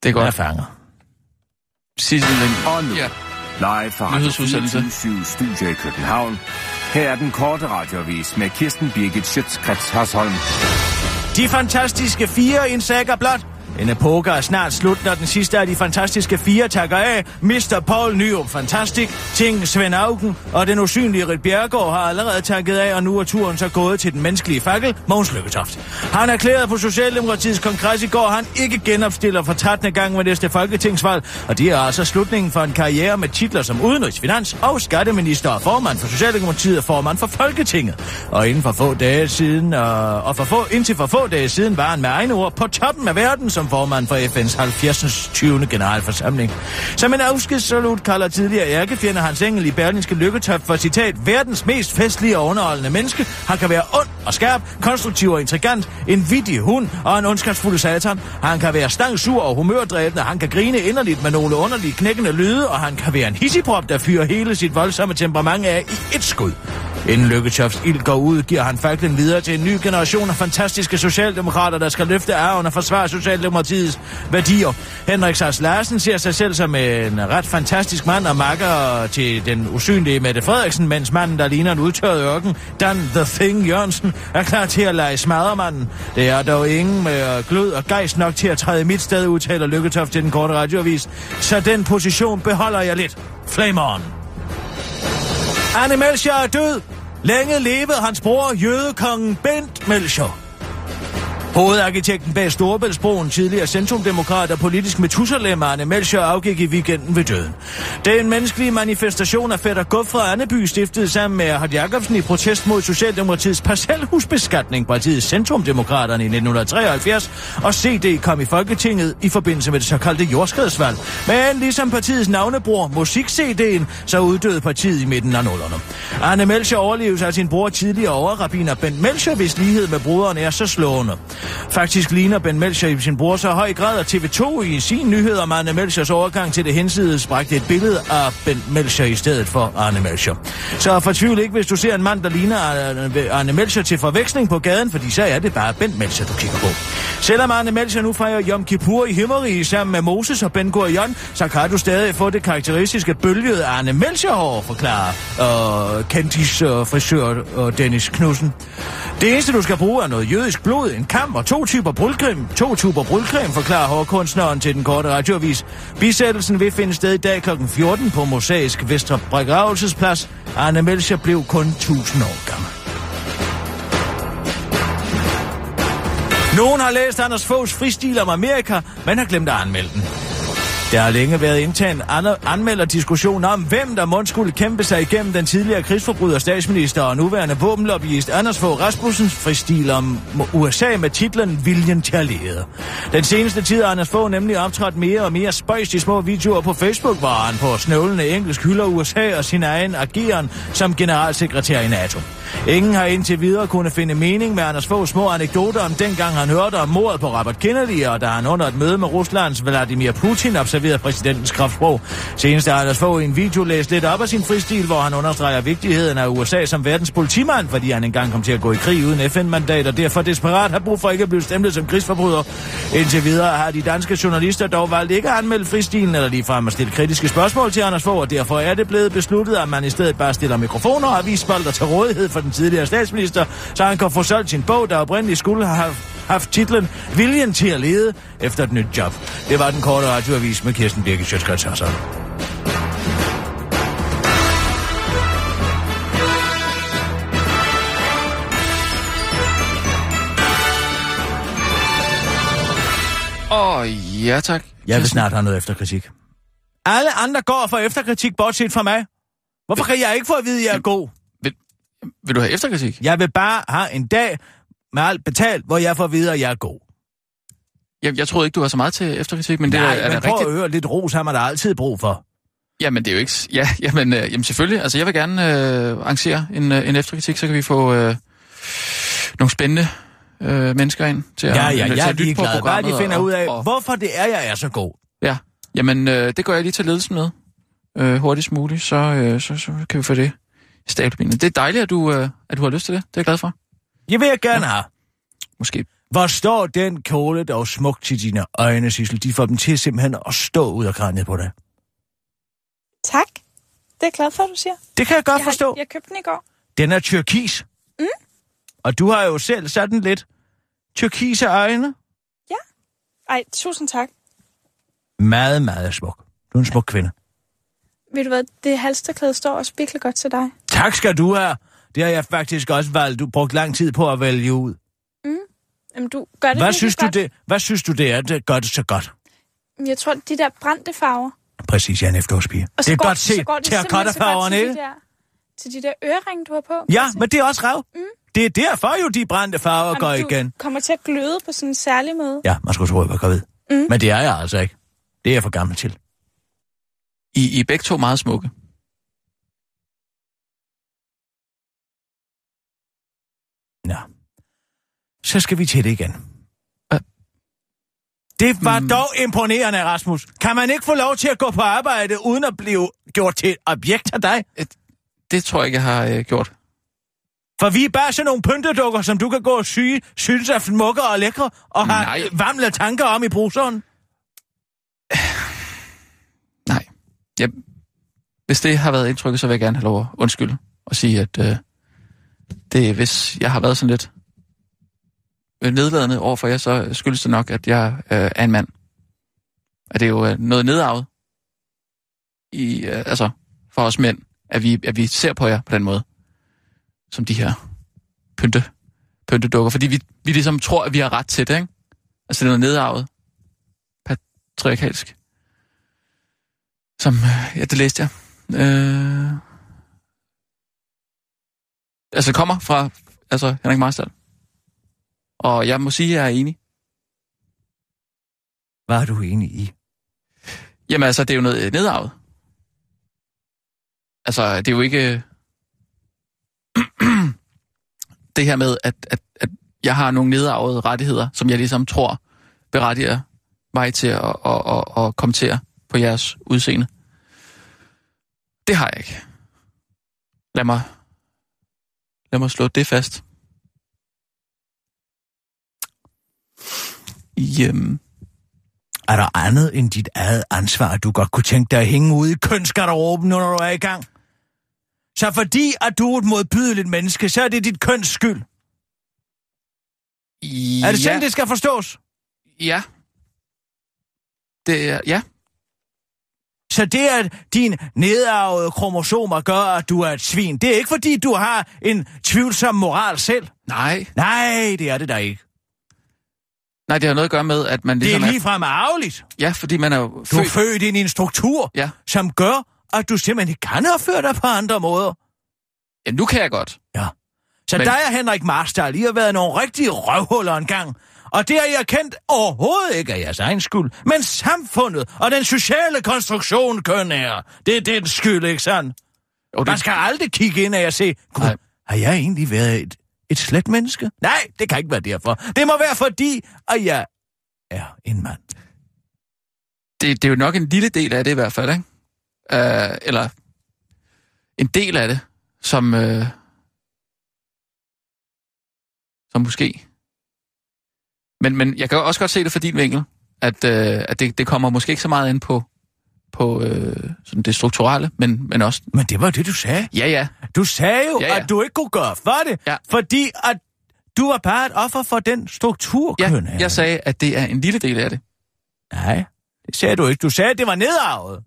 Den er
godt.
fanget.
Sissel Lind.
Og nu,
Ja.
live fra Radio
Nyhedsudsendelse.
24 Studio i København. Her er den korte radiovis med Kirsten Birgit Schøtzgrads Hasholm.
De fantastiske fire i en sæk er blot. En epoke er snart slut, når den sidste af de fantastiske fire takker af. Mr. Paul Nyrup Fantastik, Ting Svend Auken og den usynlige Rit Bjergård har allerede takket af, og nu er turen så gået til den menneskelige fakkel, Mogens Lykketoft. Han erklærede på Socialdemokratiets kongres i går, at han ikke genopstiller for 13. gang ved næste folketingsvalg, og det er altså slutningen for en karriere med titler som udenrigs, finans og skatteminister og formand for Socialdemokratiet og formand for Folketinget. Og inden for få dage siden, øh, og for få, indtil for få dage siden var han med egne ord på toppen af verden som formand for FN's 70. 20. generalforsamling. Som en afskedssalut kalder tidligere ærkefjender Hans Engel i Berlinske Lykketop for citat, verdens mest festlige og underholdende menneske. Han kan være ond og skarp, konstruktiv og intrigant, en vittig hund og en ondskabsfuld satan. Han kan være stangsur og humørdræbende, han kan grine inderligt med nogle underlige knækkende lyde, og han kan være en hissiprop, der fyrer hele sit voldsomme temperament af i et skud. Inden Lykketofts ild går ud, giver han faklen videre til en ny generation af fantastiske socialdemokrater, der skal løfte arven og forsvare Socialdemokratiets værdier. Henrik Sars Larsen ser sig selv som en ret fantastisk mand og makker til den usynlige Mette Frederiksen, mens manden, der ligner en udtørret ørken, Dan The Thing Jørgensen, er klar til at lege smadremanden. Det er dog ingen med glød og gejst nok til at træde mit sted, udtaler Lykketoft til den korte radioavis. Så den position beholder jeg lidt. Flame on! Anne Melcher er død. Længe levede hans bror, jødekongen Bent Melcher. Hovedarkitekten bag Storebæltsbroen, tidligere centrumdemokrat og politisk metusalem Arne Melcher, afgik i weekenden ved døden. Den menneskelige manifestation af Fætter Guf fra Anneby stiftede sammen med Erhard Jacobsen i protest mod Socialdemokratiets parcelhusbeskatning, partiet Centrumdemokraterne i 1973, og CD kom i Folketinget i forbindelse med det såkaldte jordskredsvalg. Men ligesom partiets navnebror, Musik-CD'en, så uddøde partiet i midten af nullerne. Arne Melcher overleves af sin bror tidligere overrabiner Bent Melcher, hvis lighed med broderen er så slående. Faktisk ligner Ben Melcher i sin bror så høj grad, at TV2 i sin nyhed om Arne Melchers overgang til det hensides bragte et billede af Ben Melcher i stedet for Arne Melcher. Så fortvivl ikke, hvis du ser en mand, der ligner Arne- Arne Melcher til forveksling på gaden, fordi så er det bare Ben Melcher, du kigger på. Selvom Arne Melcher nu fejrer Yom Kippur i Himmerige sammen med Moses og Ben Gurion, så kan du stadig få det karakteristiske bølgede Arne Melcher-hår, forklarer øh, Kendis øh, frisør øh, Dennis Knudsen. Det eneste, du skal bruge, er noget jødisk blod, en kam og to typer brylcreme. To typer brylcreme, forklarer hårkunstneren til den korte radioavis. Bisættelsen vil finde sted i dag kl. 14 på Mosaisk Vestre Begravelsesplads. Arne Melcher blev kun 1000 år gammel. Nogen har læst Anders Foghs fristil om Amerika, men har glemt at anmelde den. Der har længe været intern an- anmelderdiskussion om, hvem der måtte skulle kæmpe sig igennem den tidligere krigsforbryder statsminister og nuværende våbenlobbyist Anders Fogh Rasmussens fristil om USA med titlen Viljen til at lede. Den seneste tid har Anders Fogh nemlig optrådt mere og mere spøjst i små videoer på Facebook, hvor han på snøvlende engelsk hylder USA og sin egen ageren som generalsekretær i NATO. Ingen har indtil videre kunne finde mening med Anders Foghs små anekdoter om dengang han hørte om mordet på Robert Kennedy, og da han under et møde med Ruslands Vladimir Putin observerede præsidentens kraftsprog. Senest har Anders Fogh i en video læst lidt op af sin fristil, hvor han understreger vigtigheden af USA som verdens politimand, fordi han engang kom til at gå i krig uden FN-mandat, og derfor desperat har brug for ikke at blive stemplet som krigsforbryder. Indtil videre har de danske journalister dog valgt ikke at anmelde fristilen eller ligefrem at stille kritiske spørgsmål til Anders Fogh, og derfor er det blevet besluttet, at man i stedet bare stiller mikrofoner og avisspalter til rådighed for den tidligere statsminister, så han kan få solgt sin bog, der oprindeligt skulle have haft haft titlen Viljen til at lede efter et nyt job. Det var den korte radioavis med Kirsten Birke Sjøtskrets Hassan.
Åh, oh, ja tak.
Jeg vil snart have noget efterkritik. Alle andre går for efterkritik, bortset fra mig. Hvorfor kan jeg ikke få at vide, at jeg er god?
Vil, vil du have efterkritik?
Jeg vil bare have en dag med alt betalt, hvor jeg får at vide, at jeg er god.
Jeg, jeg troede ikke, du har så meget til efterkritik, men det
Nej,
er, er
men
da
prøv at
rigtigt.
høre, lidt ros har man da altid brug for.
Jamen, det er jo ikke... s- Ja, jamen, øh, jamen selvfølgelig. Altså, jeg vil gerne øh, arrangere en, øh, en efterkritik, så kan vi få øh, nogle spændende øh, mennesker ind til at,
Ja, ja,
til
jeg er
at lytte på
ligeglad. Bare de
programmet
finder
og-
ud af,
og-
hvorfor det er, jeg er så god.
Ja, jamen øh, det går jeg lige til ledelsen med. Øh, hurtigst muligt, så, øh, så, så kan vi få det stablet Det er dejligt, at du, øh, at du har lyst til det. Det er jeg glad for.
Jeg vil jeg gerne have.
Måske.
Hvor står den kjole dog smukt til dine øjne, Sissel? De får dem til simpelthen at stå ud af kranet på dig.
Tak. Det er jeg glad for, at du siger.
Det kan jeg godt
Jeg,
forstå.
har, jeg købte den i går.
Den er tyrkis. Mm. Og du har jo selv sådan lidt tyrkise øjne.
Ej, tusind tak.
Meget, meget smuk. Du er en smuk kvinde.
Ved du hvad, det halsterklæde står også virkelig godt til dig.
Tak skal du have. Det har jeg faktisk også valgt. Du brugt lang tid på at vælge ud.
Jamen, du gør det
Hvad
virkelig
synes, du
godt.
det, hvad synes du, det er, det gør det så godt?
Jeg tror, de der brændte farver.
Præcis, jeg er en efterårspige.
Og
Det
så
er
går,
godt
så
set
går det
til at
simpelthen
cutte
så godt
farverne,
til
ikke?
de der- Til de der øreringe, du har på.
Ja, men det er også rav. Mm. Det er derfor jo, de brændte farver
Jamen,
går
du
igen.
kommer til at gløde på sådan en særlig måde.
Ja, man skulle tro, jeg var gravid. Mm. Men det er jeg altså ikke. Det er jeg for gammel til.
I, I er begge to meget smukke.
Nå. Så skal vi til det igen.
Hva?
Det var mm. dog imponerende, Rasmus. Kan man ikke få lov til at gå på arbejde, uden at blive gjort til et objekt af dig?
Det tror jeg ikke, jeg har øh, gjort.
For vi er bare sådan nogle pyntedukker, som du kan gå og syge, synes er smukke og lækre, og har
Nej.
varmle tanker om i bruseren.
Nej. Jeg, hvis det har været indtrykket, så vil jeg gerne have lov at undskylde og sige, at øh, det, er, hvis jeg har været sådan lidt øh, nedladende over for jer, så skyldes det nok, at jeg øh, er en mand. At det er jo øh, noget nedarvet i, øh, altså, for os mænd, at vi, at vi ser på jer på den måde, som de her pynte pyntedukker, fordi vi, vi ligesom tror, at vi har ret til det, ikke? Altså det er noget nedarvet. Patriarkalsk. Som, øh, ja, det læste jeg. Øh, altså kommer fra, altså Henrik Marstal. Og jeg må sige, at jeg er enig.
Hvad er du enig i?
Jamen altså, det er jo noget øh, nedarvet. Altså, det er jo ikke... øh, det her med, at, at, at jeg har nogle nedarvede rettigheder, som jeg ligesom tror berettiger mig til at, at, at, at kommentere på jeres udseende. Det har jeg ikke. Lad mig, lad mig slå det fast. I, øhm,
Er der andet end dit eget ansvar, du godt kunne tænke dig at hænge ude i kønsgarderoben, når du er i gang? Så fordi, at du er et modbydeligt menneske, så er det dit køns skyld.
i-
Er det sådan,
ja.
det skal forstås?
Ja. Det er, ja.
Så det, at din nedarvede kromosomer gør, at du er et svin, det er ikke fordi, du har en tvivlsom moral selv.
Nej.
Nej, det er det da ikke.
Nej, det har noget at gøre med, at man
Det er
ligesom...
ligefrem arveligt.
Er, ja, fordi man er jo
Du er
født...
født ind i en struktur,
Ja.
som gør, at du simpelthen ikke kan opføre dig på andre måder.
ja, nu kan jeg godt.
Så
Men-
Men... der er Henrik Marstal, I har været nogle rigtige røvhuller engang. Og det har jeg kendt overhovedet ikke af jeres egen skyld, men samfundet og den sociale konstruktion køn er. Det er den skyld, ikke sandt?
Jo,
Man
det,
skal aldrig kigge ind af og se, Gud,
Nej.
har jeg egentlig været et, et slet menneske? Nej, det kan ikke være derfor. Det må være fordi, at jeg er en mand.
det, det er jo nok en lille del af det i hvert fald, ikke? Uh, eller en del af det, som... Uh, som måske... Men, men jeg kan jo også godt se det fra din vinkel, at, uh, at det, det kommer måske ikke så meget ind på, på uh, sådan det strukturelle, men, men også...
Men det var det, du sagde.
Ja, ja,
Du sagde jo,
Ja,
ja,
ja.
ja. at du ikke kunne gøre for det,
Ja.
ja. fordi at du var bare et offer for den struktur, køn
ja.
er.
Jeg sagde, at det er en lille del af det.
Nej, det sagde du ikke. Du sagde, at det var nedarvet.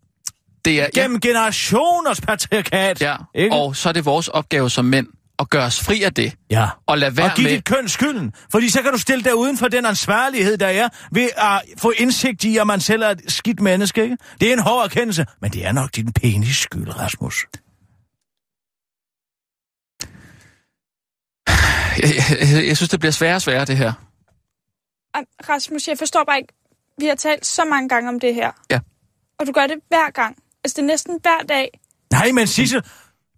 Det er, ja,
Gennem generationers patriarkat.
Ja,
Ikke?
og så er det vores opgave som mænd at gøre os fri af det.
ja.
Og lade
Og
være
give
med...
dit køn skylden, fordi så kan du stille dig uden for den ansvarlighed, der er, ved at få indsigt i, at man selv er et skidt menneske, ikke? Det er en hård erkendelse, men det er nok din penis skyld, Rasmus.
Jeg, jeg, jeg synes, det bliver sværere og sværere, det her.
Am, Rasmus, jeg forstår bare ikke, vi har talt så mange gange om det her.
Ja.
Og du gør det hver gang. Altså, det er næsten hver dag.
Nej, men Sissel,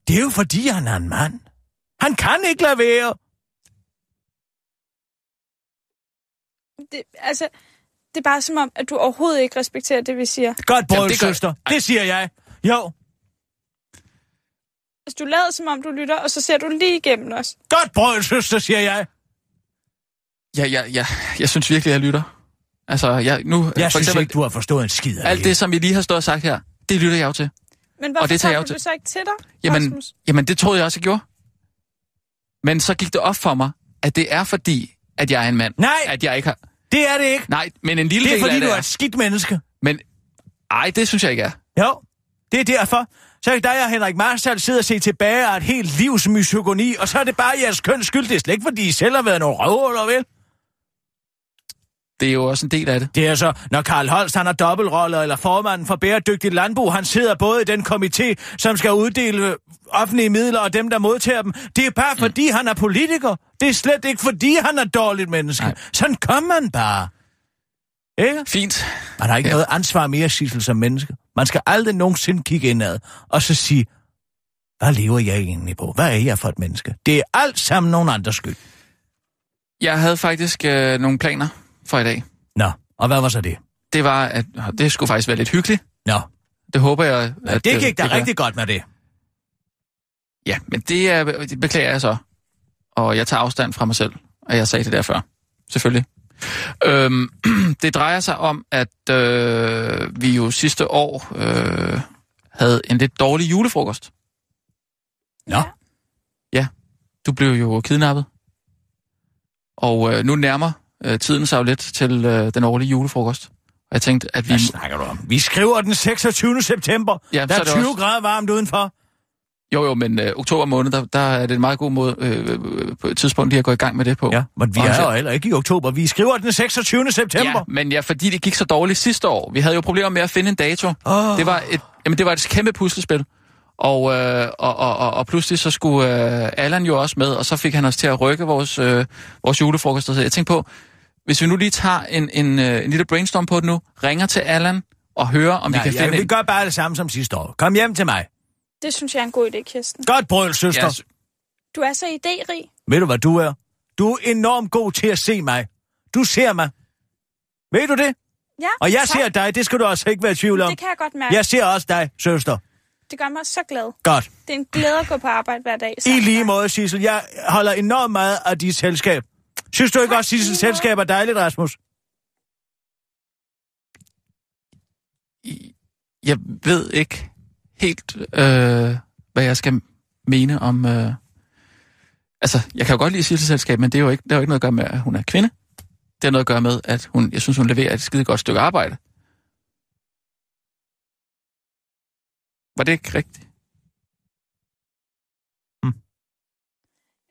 det er jo fordi, han er en mand. Han kan ikke lade være.
Det, altså, det er bare som om, at du overhovedet ikke respekterer det, vi siger.
Godt
Jamen,
brød,
det gør-
søster. Det siger jeg. Jo,
Altså, du lader som om, du lytter, og så ser du lige igennem os.
godt brød, søster, siger jeg.
Ja, ja, ja. Jeg synes virkelig, jeg lytter. Altså, jeg, nu...
Jeg synes ikke, du har forstået en skid af
Alt det, som I lige har stået og sagt her, det lytter jeg jo til.
Men hvorfor
det tager jeg jo
tager
til-
du så ikke til dig,
Jamen,
Rasmus?
jamen, det troede jeg også, jeg gjorde. Men så gik det op for mig, at det er fordi, at jeg er en mand.
Nej.
At jeg ikke har...
Det er det ikke.
Nej, men en lille
Det er
del
fordi,
af
du
det
er et skidt menneske.
Men... Ej, det synes jeg ikke er.
Jo, det er derfor. Så kan dig og Henrik Marstal sidde og se tilbage af et helt livs misogoni, og så er det bare jeres køns skyld. Det er slet ikke, fordi I selv har været nogle røvhuller, vel?
Det er jo også en del af det.
Det er så, når Karl Holst han har dobbeltroller, eller formanden for bæredygtigt landbrug, han sidder både i den komité, som skal uddele offentlige midler, og dem, der modtager dem. Det er bare, fordi han er politiker. Det er slet ikke, fordi han er dårligt menneske.
Nej.
Nej. Sådan kom man bare. Ikke?
Fint.
Man har ikke
Ja.
ja. noget ansvar mere, Sissel, som menneske. Man skal aldrig nogensinde kigge indad og så sige, hvad lever jeg egentlig på? Hvad er jeg for et menneske? Det er alt sammen nogen andres skyld.
Jeg havde faktisk øh, nogle planer for i dag.
Nå, og hvad var så det?
det var, at åh, det skulle faktisk være lidt hyggeligt.
Nå,
Det håber jeg,
ja, det
øh,
gik da
gør.
rigtig godt med det.
Ja, men det, er, det beklager jeg så. Og jeg tager afstand fra mig selv, og jeg sagde det der før. Selvfølgelig. Øhm, det drejer sig om, at øh, vi jo sidste år øh, havde en lidt dårlig julefrokost.
Nå.
Ja, du blev jo kidnappet. Og øh, nu nærmer øh, tiden sig jo lidt til øh, den årlige julefrokost. Og jeg tænkte, at vi...
Hvad snakker du om? Vi skriver den 26. september.
Ja,
Ja, der
så er
er
det
20
også-
grader varmt udenfor.
Jo, jo, men øh, oktober måned, der, der er det en meget god måde, øh, øh, på et tidspunkt lige at gå i gang med det på.
Ja, men vi
Og
er
så-
jo heller ikke i oktober. Vi skriver den 26. september.
Ja, men ja, fordi det gik så dårligt sidste år. Vi havde jo problemer med at finde en dato.
Åh.
Det var et, jamen, det var et kæmpe puslespil. Og, øh, og, og, og, og pludselig så skulle øh, Allan jo også med, og så fik han os til at rykke vores, øh, vores julefrokost. Så jeg tænkte på, hvis vi nu lige tager en, en, øh, en lille brainstorm på det nu, ringer til Allan og hører, om
Nej,
vi kan
ja,
finde
vi gør bare det samme som sidste år. Kom hjem til mig.
Det synes jeg er en god idé, Kirsten.
Godt brøl, søster.
Ja, s-
Du er så idérig.
Ved du, hvad du er? Du er enormt god til at se mig. Du ser mig. Ved du det?
Ja,
Og jeg
tak.
ser dig, det skal du også ikke være i tvivl om.
Det kan jeg godt mærke.
Jeg ser også dig, søster.
Det gør mig så glad.
Godt.
Det er en glæde at gå på arbejde hver dag.
I
sammen
lige
med dig.
måde, Sissel. Jeg holder enormt meget af dit selskab. Synes du ikke
Tak,
også, Sissels
lige måde.
selskab er dejligt, Rasmus?
jeg ved ikke helt, øh, hvad jeg skal mene om... Øh, altså, jeg kan jo godt lide Sisselselskab, men det er jo ikke, det har jo ikke noget at gøre med, at hun er kvinde. Det har noget at gøre med, at hun, jeg synes, hun leverer et skide godt stykke arbejde. Var det ikke rigtigt?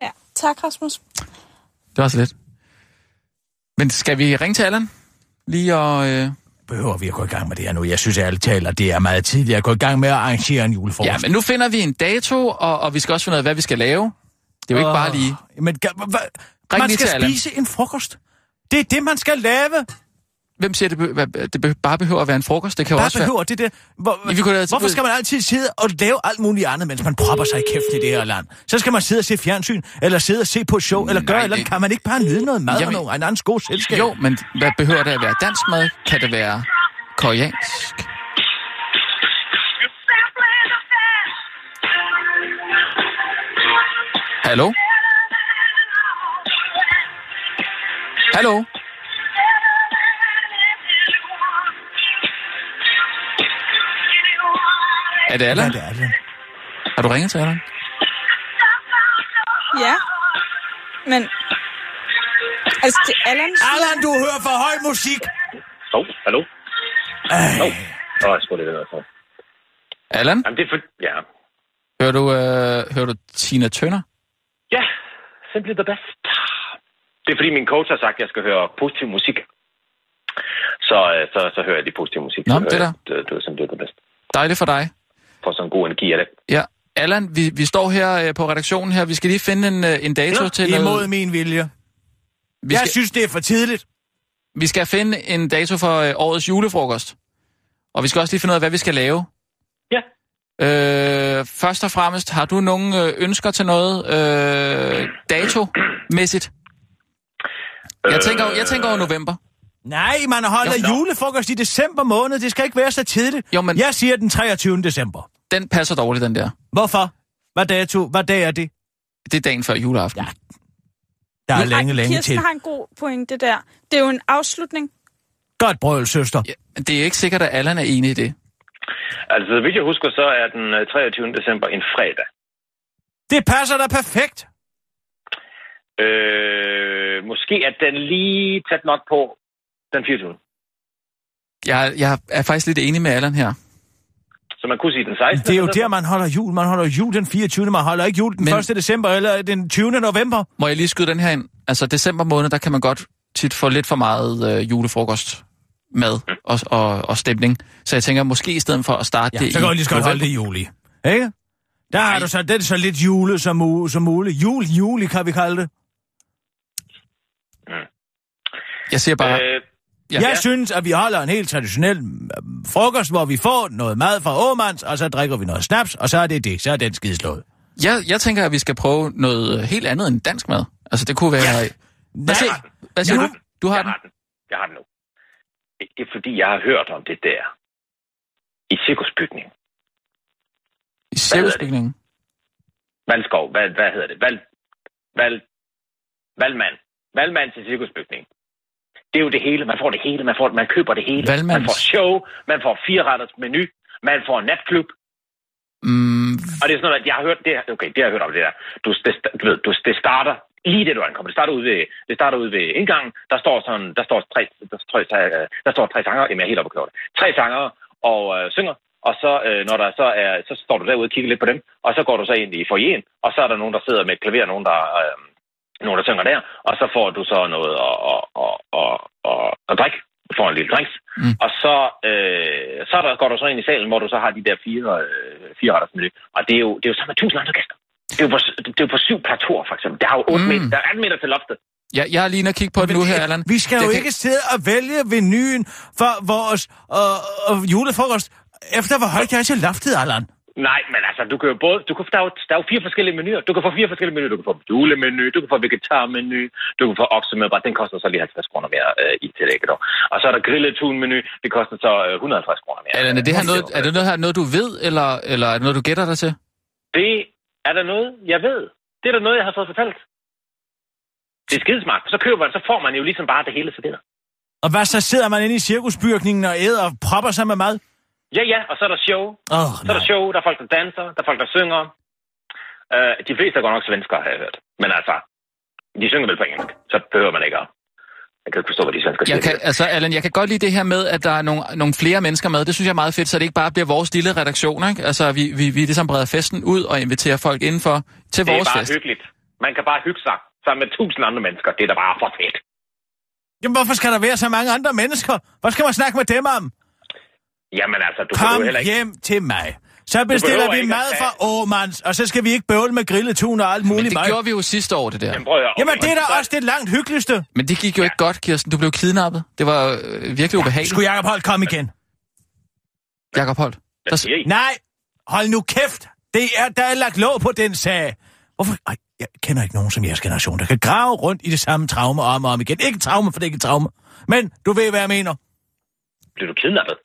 Ja. Tak, Rasmus.
Det var så lidt. Men skal vi ringe til Allan? Lige og... Øh,
Behøver vi at gå i gang med det her nu? Jeg synes ærligt taler, det er meget tidligt at gå i gang med at arrangere en julefrokost.
ja, men nu finder vi en dato, og, og vi skal også finde ud af, hvad vi skal lave. Det er jo ikke bare lige...
Men, ga- hva, hva, man
lige
skal
til Allan.
spise en frokost. Det er det, man skal lave.
Hvem siger, det, be, hvad- det be, bare behøver at være en frokost? Det kan jo
Hvad
også være...
behøver det der? Hvor,
Ja, vi kunne da-
hvorfor skal man altid sidde og lave alt muligt andet, mens man propper sig i kæften i det her land? Så skal man sidde og se fjernsyn, eller sidde og se på et show, eller
Nej,
gøre, eller
det-
kan man ikke bare nyde noget mad og
Jamen-
nogle en andens gode selskab?
Jo, men hvad behøver det at være dansk mad? Kan det være koreansk? Hallo? Hallo? Er det
Ja,
Allan?
det er det.
Har du ringet til Allan?
Ja. Men... Altså, det er Allan...
Allan, du hører for høj musik!
Hov, hallo?
Ej,
Nå, jeg skulle det altså.
Allan?
Jamen, det er for... Ja.
Hører du, øh, hører du Tina Tønder?
Ja, simpelthen the best. Det er fordi, min coach har sagt, at jeg skal høre positiv musik. Så, øh, så, så hører jeg lige positiv musik.
Nå,
Så
men
hører
det
jeg, Det, det er simpelthen the best.
Dejligt for dig.
Får sådan en god energi af det.
Ja. Allan, vi, vi står her øh, på redaktionen her. Vi skal lige finde en, øh, en dato
Nå,
til
imod
noget.
min vilje.
Vi
Jeg
skal,
synes, det er for tidligt.
vi skal finde en dato for øh, årets julefrokost. Og vi skal også lige finde ud af, hvad vi skal lave.
Ja.
Øh, først og fremmest, har du nogle øh, ønsker til noget øh, datomæssigt? Jeg tænker, jeg tænker over november.
Nej, man holder
Nå.
julefrokost i december måned. Det skal ikke være så tidligt.
Jo, men-
Jeg siger den 23. december.
Den passer dårligt, den der.
Hvorfor? Hvad dato? Hvad dag er det?
Det er dagen før juleaften. Ja.
Der er
Ej,
Ah, længe, længe
Kirsten
til.
har en god pointe der. Det er jo en afslutning.
Godt brøl, søster.
Ja, men det er ikke sikkert, at Allan er enig i det.
Altså, så vidt jeg husker, så er den øh, 23. december en fredag.
Det passer da perfekt.
Øh, måske er den lige tæt nok på den 24.
Jeg, jeg er faktisk lidt enig med Allan her.
Så man kunne sige den 16.
Det er jo
december.
der, man holder jul. Man holder jul den 24. Man holder ikke jul den
Men-
Men... 1. december eller den 20. november.
Må jeg lige skyde den her ind? Altså, december måned, der kan man godt tit få lidt for meget øh, julefrokost mad
Mm.
og, og, og stemning. Så jeg tænker, måske i stedet for at starte det
så kan
i
vi lige så godt holde det i juli. Ikke? Der har du så, det er så lidt jule som, mu- som muligt. Jul, juli kan vi kalde det.
Jeg siger bare,
Øh,
Ja.
Ja, jeg synes, at vi holder en helt traditionel øh, frokost, hvor vi får noget mad fra Åmands, og så drikker vi noget snaps, og så er det det. Så er den skideslået.
jeg, jeg tænker, at vi skal prøve noget øh, helt andet end dansk mad. Altså, det kunne være... Ja. Hvad, siger, hvad siger
Jeg
du?
har den.
Du har
jeg
den?
Har den. Jeg har den nu. Det er fordi, jeg har hørt om det der. I cirkusbygningen.
I cirkusbygningen.
Valskov, hvad, hvad hedder det? Val, Val, Valmand. Valmand til cirkusbygning. Det er jo det hele. Man får det hele. Man, får, man køber det hele. Man
Valmands.
får show. Man får fireretters menu. Man får en natklub.
Mm,
Og det er sådan noget, at jeg har hørt det her. Okay, det har jeg hørt om det der. Du, det, du ved, du, det starter lige det, du ankommer. Det starter ude ved, det starter ude ved indgangen. Der står sådan, der står tre, der, står tre, øh, der står tre sanger. Jamen, jeg er helt oppe at køre det. Tre sanger og øh, synger. og så, øh, når der så, er, så står du derude og kigger lidt på dem, og så går du så ind i forjen, og så er der nogen, der sidder med et klaver, nogen, der, øh, nogen, der synger der, og så får du så noget at, at, at, at, at, at drikke. Du får en lille drinks.
Mm.
Mm. Og så, øh, så der, går du så ind i salen, hvor du så har de der fire, øh, fire retters menu. Og det er jo, det er jo sammen med tusind andre gæster. Det er jo på, det er jo på syv platorer, for eksempel. Der er jo 8
Mm.
mm. meter, der er 18 meter til loftet.
Jeg, jeg er lige inde og kigge på det nu her, Allan.
Vi skal
Jeg
jo
kan-
ikke sidde og vælge menuen for vores øh, øh, julefrokost, efter hvor højt jeg er til loftet, Allan.
Nej, men altså, du kan jo både... Du kan, der, er jo, der er jo fire forskellige menuer. Du kan få fire forskellige menuer. Du kan få julemenu, du kan få vegetarmenu, du kan få oksemedbræt. Den koster så lige 50 kroner mere øh, i tillæg. Dog. Og så er der grillet tunmenu. Det koster så øh, 150 kroner mere.
Allan, er det her noget, er det noget, her, noget du ved, eller, eller er det noget, du gætter dig til?
Det er der noget, jeg ved. Det er der noget, jeg har fået fortalt. Det er skidesmart. Så køber man, så får man jo ligesom bare det hele serveret.
Og hvad så sidder man inde i cirkusbygningen og æder og propper sig med mad?
Ja, ja, og så er der show.
Åh,
Så er der show, der er folk, der danser, der er folk, der synger. Øh, de fleste er godt nok svenskere, har jeg hørt. Men altså, de synger vel på engelsk, så behøver man ikke at... Jeg kan ikke forstå, hvad de svensker siger.
Jeg kan, altså, Allan, jeg kan godt lide det her med, at der er nogle, nogle flere mennesker med. Det synes jeg er meget fedt, så det ikke bare bliver vores lille redaktion. Ikke? Altså, vi, vi, vi ligesom breder festen ud og inviterer folk indenfor til
det er
vores
bare
fest.
hyggeligt. Man kan bare hygge sig sammen med tusind andre mennesker. Det er da bare for fedt.
Jamen, hvorfor skal der være så mange andre mennesker? Hvad skal man snakke med dem om?
Jamen altså, du kan
Kom
jo heller ikke...
hjem til mig. Så bestiller vi
ikke at
mad
tage-
fra Åmands, og så skal vi ikke bøvle med grilletun og alt
Men
muligt
det
mad.
gjorde vi jo sidste år, det der.
Jamen, prøv at høre,
Jamen,
okay,
det er
så-
da også det langt hyggeligste.
Men det gik jo ikke godt, Kirsten. Du blev kidnappet. Det var øh, virkelig ubehageligt.
Skulle Jacob Holt komme igen?
Jakob Holt.
Hvad
Der,
siger I?
Nej, hold nu kæft. Det er, der er lagt låg på den sag. Hvorfor? Ej, jeg kender ikke nogen som jeres generation, der kan grave rundt i det samme traume om og om igen. Ikke traume, for det er ikke et traume. Men du ved, hvad jeg mener.
Blev du kidnappet?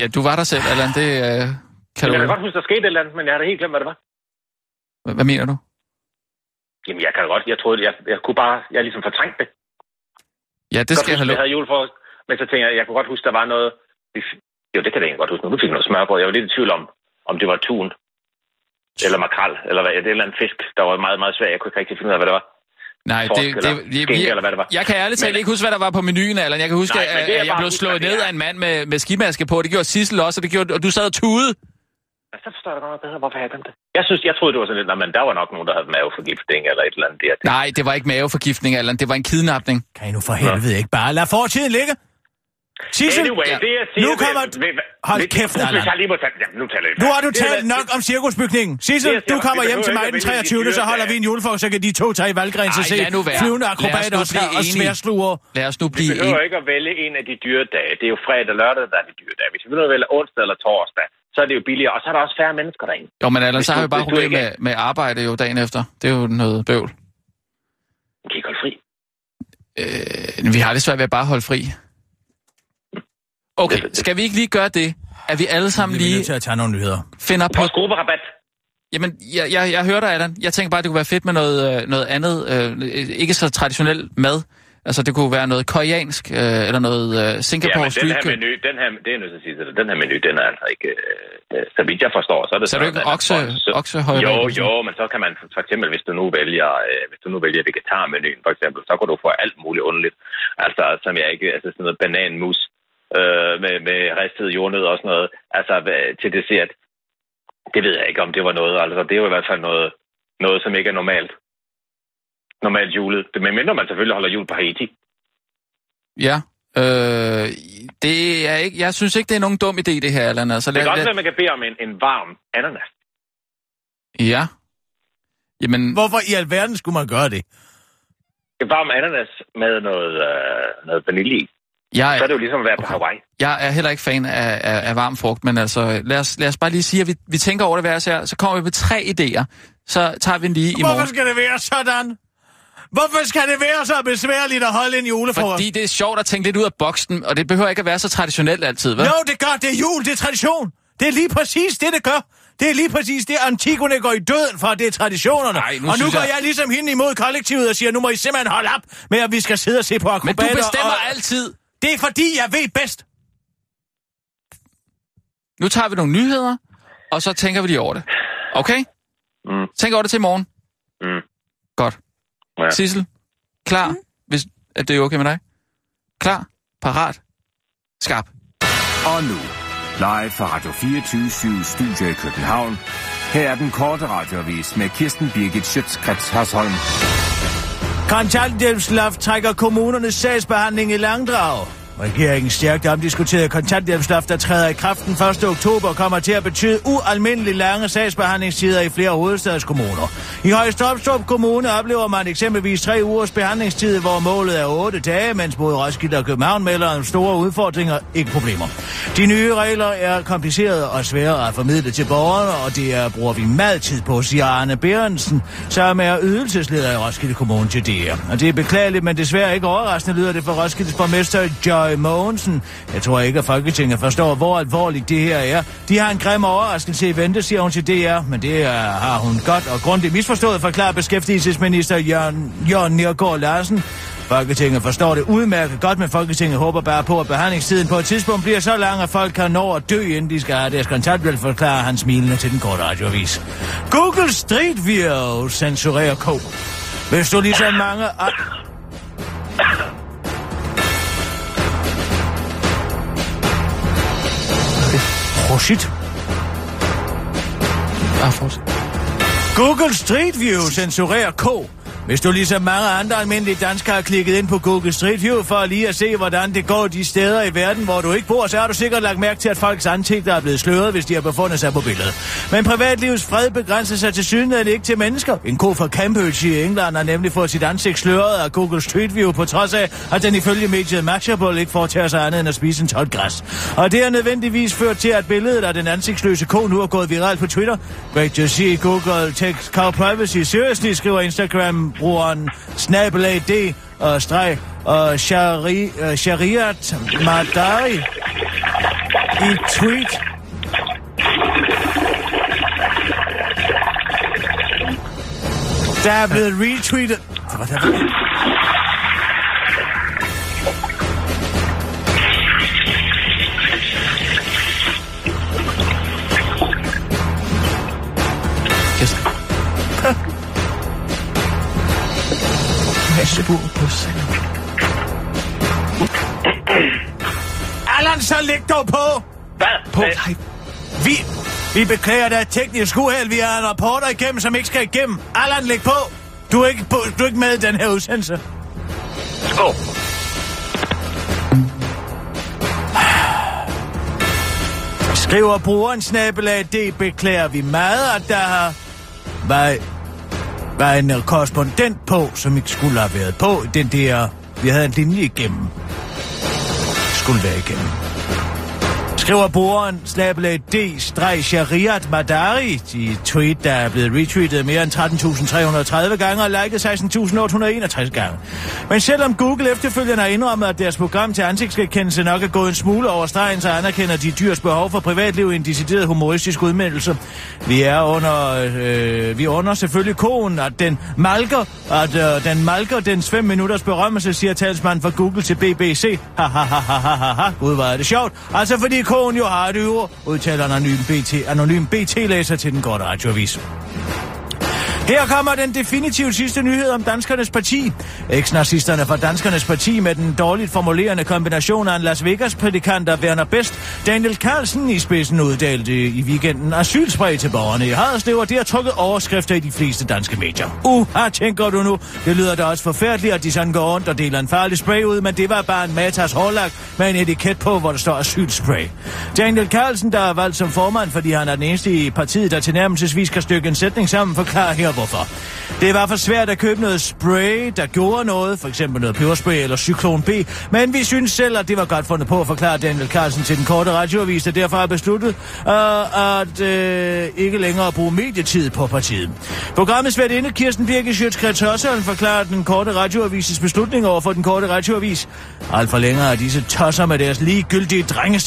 ja, du var der selv, Allan. Det øh, kan
Jeg
du...
kan da godt huske, der skete et eller andet, men jeg har da helt glemt, hvad det var.
Hvad- Hvad mener du?
Jamen, jeg kan da godt. Jeg troede, jeg, jeg kunne bare... Jeg ligesom fortrængte det.
Ja, det skal jeg have
huske,
lov.
jeg havde julefrokost. Men så tænker jeg, jeg kunne godt huske, der var noget... vi- Jo, det kan jeg egentlig godt huske. Nu fik jeg noget smørbrød. Jeg var lidt i tvivl om, om det var tun. Eller makrel, eller hvad, det er et eller andet fisk, der var meget, meget svært. Jeg kunne ikke rigtig finde ud af, hvad det var.
Nej, det,
torsk
det, det,
eller skænke,
jeg-
eller hvad det var.
Jeg kan ærligt talt
Men-
ikke huske, hvad der var på menuen, Allan. Jeg kan huske,
Nej,
Nej,
men
at,
det, jeg
at jeg
bare
blev
husker,
slået
det
ned
er-
af en mand med, med skimaske på. Det gjorde Sissel også, og, det gjorde, og du sad og tude.
Ja, så forstår jeg det godt nok bedre, hvorfor jeg glemte det. Jeg, synes, jeg troede, det var sådan lidt, "Nå, men der var nok nogen, der havde maveforgiftning eller et eller andet. Der.
Nej, det var ikke maveforgiftning, Allan. Det var en kidnapning.
Kan I nu for helvede ikke bare lade fortiden ligge? Sissel,
Anyway,
Ja.
det jeg siger...
Nu kommer
ved-
et-
ved- ved-
Hold
ved-
kæft,
Hvis
Allan.
jeg lige må tage... Jamen, nu taler jeg.
nu har du
Det er
talt
da-
nok om cirkusbygningen. Sissel,
Det, jeg
du
siger,
kommer
vi
hjem til
behøver
mig
ikke
den
at vælge de
23. Så
dyre,
holder
der-
vi en julefrokost, så kan de to tage i valggrense og
Ej, lad nu
se
være.
flyvende
Lad os nu
akrobater og,
blive
svær- og
enige.
sværsluger.
Lad os nu
Vi
blive
behøver
enige.
ikke at vælge en af de dyre dage. Det er jo fredag og lørdag, der er de dyre dage. Hvis vi behøver at vælge onsdag eller torsdag, så er det jo billigere. Og så er der også færre mennesker derinde.
Jo, men Allan,
Hvis
så har
du-
vi bare
hvis du
problemer
ikke
med, med arbejde jo dagen efter. Det er jo noget bøvl.
Vi kan ikke holde fri.
Øh, vi har det svært ved at bare holde fri. Okay, skal vi ikke lige gøre det, at vi alle sammen
Vi er nødt
lige
til at tage nogle nyheder.
finder på...
Vores grupperabat.
Jamen, jeg, jeg, jeg hører dig, Allan. Jeg tænker bare, det kunne være fedt med noget, øh, noget andet, øh, ikke så traditionel mad. Altså, det kunne være noget koreansk, øh, eller noget øh,
Ja,
Singapore
men den her
street
menu, den her, det er jeg nødt til at sige til dig, den her menu, den er altså ikke, øh, så vidt jeg forstår, så er det
Så er det
sådan,
ikke
at-
okse-
så-
oksehøjre?
Jo, jo, men så kan man for eksempel, hvis du nu vælger, øh, hvis du nu vælger vegetarmenuen for eksempel, så kan du få alt muligt underligt. Altså, som jeg ikke, altså sådan noget bananmus øh, med, med ristede jordnødder og sådan noget, altså hvad- til dessert. Det ved jeg ikke, om det var noget, altså det er jo i hvert fald noget, noget som ikke er normalt. Normalt julet. Men mindre man selvfølgelig holder jul på Haiti.
Ja. Øh, det er ikke, jeg synes ikke, det er nogen dum idé, det her, Allan. Altså,
Det
lad,
kan også
lad,
være, at man kan bede om en, en varm ananas.
ja. Jamen,
Hvorfor i alverden skulle man gøre det?
En varm ananas med noget, øh, noget vanilje i. Så er
jeg,
det jo ligesom at være på
Okay.
Hawaii.
jeg er heller ikke fan af, af, af varm frugt, men altså, lad os, lad os bare lige sige, at vi, vi tænker over det hver især, så kommer vi med tre idéer, så tager vi den lige i
Hvorfor
morgen.
skal det være sådan? Hvorfor skal det være så besværligt at holde en julefrokost?
Fordi det er sjovt at tænke lidt ud af boksen, og det behøver ikke at være så traditionelt altid, vel?
Jo, det gør, det er jul, det er tradition. Det er lige præcis det, det gør. Det er lige præcis det, Antigone går i døden for, det er traditionerne.
Ej, nu
og nu
synes
går jeg...
jeg-
ligesom hende imod kollektivet og siger, nu må I simpelthen holde op med, at vi skal sidde og se på akrobater.
Men du bestemmer
og...
altid.
Det er fordi, jeg ved bedst.
Nu tager vi nogle nyheder, og så tænker vi lige over det. Okay?
Mm.
Tænk over det til i morgen.
Mm.
Godt.
Ja.
Sissel, klar, mm. hvis at det er okay med dig? Klar, parat, skarp.
Og nu, Live fra Radio 24 Studio i København. Her er den korte radiovis med Kirsten Birgit Schøtzgrads Hasholm.
Kontanthjælpsloft trækker kommunernes sagsbehandling i langdrag. Regeringens stærkt omdiskuterede kontanthjælpsloft, der træder i kraft den 1. oktober, kommer til at betyde ualmindelig lange sagsbehandlingstider i flere hovedstadskommuner. I Højstopstrup Kommune oplever man eksempelvis tre ugers behandlingstid, hvor målet er 8 dage, mens både Roskilde og København melder om store udfordringer, ikke problemer. De nye regler er komplicerede og svære at formidle til borgerne, og det er, bruger vi meget tid på, siger Arne Berensen, som er ydelsesleder i Roskilde Kommune til DR. Og det er beklageligt, men desværre ikke overraskende lyder det fra Roskildes borgmester Joy Mogensen. Jeg tror ikke, at Folketinget forstår, hvor alvorligt det her er. De har en grim overraskelse i vente, siger hun til DR, men det er, har hun godt og grundigt misforstået, forklarer beskæftigelsesminister Jørgen, Jørgen Nergård Larsen. Folketinget forstår det udmærket godt, men Folketinget håber bare på, at behandlingstiden på et tidspunkt bliver så lang, at folk kan nå at dø, inden de skal have deres kontanthjælp, forklarer han smilende til den korte radioavis. Google Street View censurerer K. Hvis du ligesom mange... a- Prosit.
Bare fortsæt.
Google Street View censurerer K. Hvis du ligesom mange andre almindelige danskere har klikket ind på Google Street View for lige at se, hvordan det går de steder i verden, hvor du ikke bor, så har du sikkert lagt mærke til, at folks ansigter er blevet sløret, hvis de har befundet sig på billedet. Men privatlivets fred begrænser sig til synligheden ikke til mennesker. En ko fra Cambridge i England har nemlig fået sit ansigt sløret af Google Street View, på trods af, at den ifølge mediet Mashable ikke foretager sig andet end at spise en tot græs. Og det har nødvendigvis ført til, at billedet af den ansigtsløse ko nu er gået viralt på Twitter. Great to see Google takes cow privacy seriously, skriver Instagram-brugeren snabelagd og øh, streg og shari, uh, Shariat Madari i et tweet. Der er blevet retweetet... Hvordan
Kirsten. Massebrug på sand.
Allan, så læg dog på!
Hvad?
På
Øh,
dig.
Vi, vi beklager, der er et teknisk uheld. Vi har en rapporter igennem, som ikke skal igennem. Allan, læg på. Du er ikke, på, du er ikke med i den her udsendelse.
Skål.
Skriver brugeren snabelag, det beklager vi meget, at der har var, var en øh, korrespondent på, som ikke skulle have været på. Den der, vi havde en linje igennem. Skulle være igennem. Skriver brugeren snabelag d shariat madari i et tweet, der er blevet retweetet mere end 13.330 gange og liket 16.861 gange. Men selvom Google efterfølgende har indrømmet, at deres program til ansigtsgenkendelse nok er gået en smule over stregen, så anerkender de dyrs behov for privatliv i en decideret humoristisk udmeldelse. Vi er under, øh, vi under selvfølgelig konen, at den malker, at øh, den malker dens 5 minutters berømmelse, siger talsmanden for Google til BBC. Ha ha ha ha ha ha ha. Gud, hvor er det sjovt. Altså fordi konen jo har det ord, udtaler en anonym, BT, anonym BT-læser til den korte radioavis. Her kommer den definitivt sidste nyhed om Danskernes Parti. Eksnazisterne fra Danskernes Parti med den dårligt formulerende kombination af en Las Vegas-prædikant og Werner Best, Daniel Carlsen i spidsen uddelte i weekenden asylspray til borgerne i Haderslev, og det har trukket overskrifter i de fleste danske medier. Uha, tænker du nu? Det lyder da også forfærdeligt, at de sådan går rundt og deler en farlig spray ud, men det var bare en Matas hårlak med en etiket på, hvor der står asylspray. Daniel Carlsen, der er valgt som formand, fordi han er den eneste i partiet, der tilnærmelsesvis kan stykke en sætning sammen, forklarer her hvorfor. Det var for svært at købe noget spray, der gjorde noget, for eksempel noget peberspray eller Cyklon B, men vi synes selv, at det var godt fundet på at forklare Daniel Carlsen til den korte radioavis, der derfor har besluttet øh, at øh, ikke længere bruge medietid på partiet. Programmets værtinde Kirsten Birke Sjøtskrets Hørsholm forklarer den korte radioavises beslutning over for den korte radioavis. Alt for længere er disse tosser med deres ligegyldige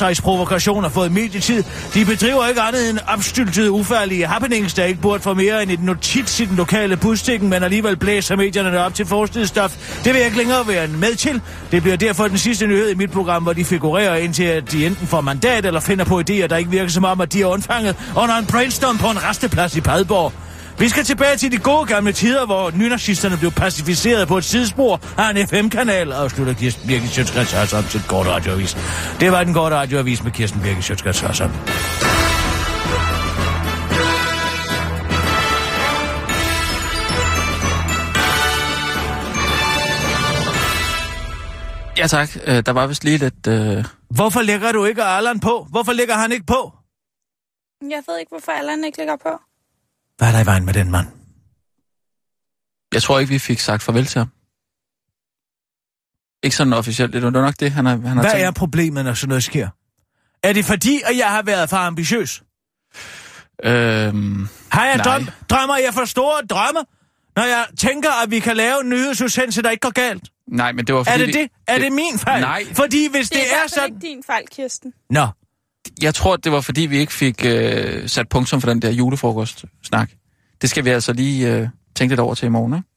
drengestregsprovokationer fået medietid. De bedriver ikke andet end opstyltede ufærdige happenings, der ikke burde få mere end et notits i den lokale bustikken, men alligevel blæser medierne det op til forstidsstof. Det vil jeg ikke længere være med til. Det bliver derfor den sidste nyhed i mit program, hvor de figurerer indtil, at de enten får mandat eller finder på idéer, der ikke virker som om, at de er undfanget under en brainstorm på en resteplads i Padborg. Vi skal tilbage til de gode gamle tider, hvor nynazisterne blev pacificeret på et sidespor af en FM-kanal, afslutter Kirsten Birgit Sjøtskrets Hassan til et kort radioavis. Det var den korte radioavis med Kirsten Birgit Sjøtskrets Hassan.
Ja tak, øh, der var vist lige lidt... Øh...
Hvorfor lægger du ikke Allan på? Hvorfor lægger han ikke på?
Jeg ved ikke, hvorfor Allan ikke ligger på.
Hvad er der i vejen med den mand?
Jeg tror ikke, vi fik sagt farvel til ham. Ikke sådan officielt, det var nok det, han har, han har
Hvad
tænkt.
er problemet, når sådan noget sker? Er det fordi, at jeg har været for ambitiøs?
Øhm,
Har jeg
Nej.
drøm? Drømmer jeg for store drømme? Når jeg tænker, at vi kan lave en nyhedsudsendelse, der ikke går galt.
nej, men det var
Er
fordi...
det det? Er det min fejl?
Nej.
Fordi hvis
Det er, i
det er
hvert fald
sådan...
ikke din fejl, Kirsten.
Nå,
Jeg tror, det var fordi, vi ikke fik øh, sat punktum for den der julefrokost-snak. Det skal vi altså lige øh, tænke lidt over til i morgen, ikke?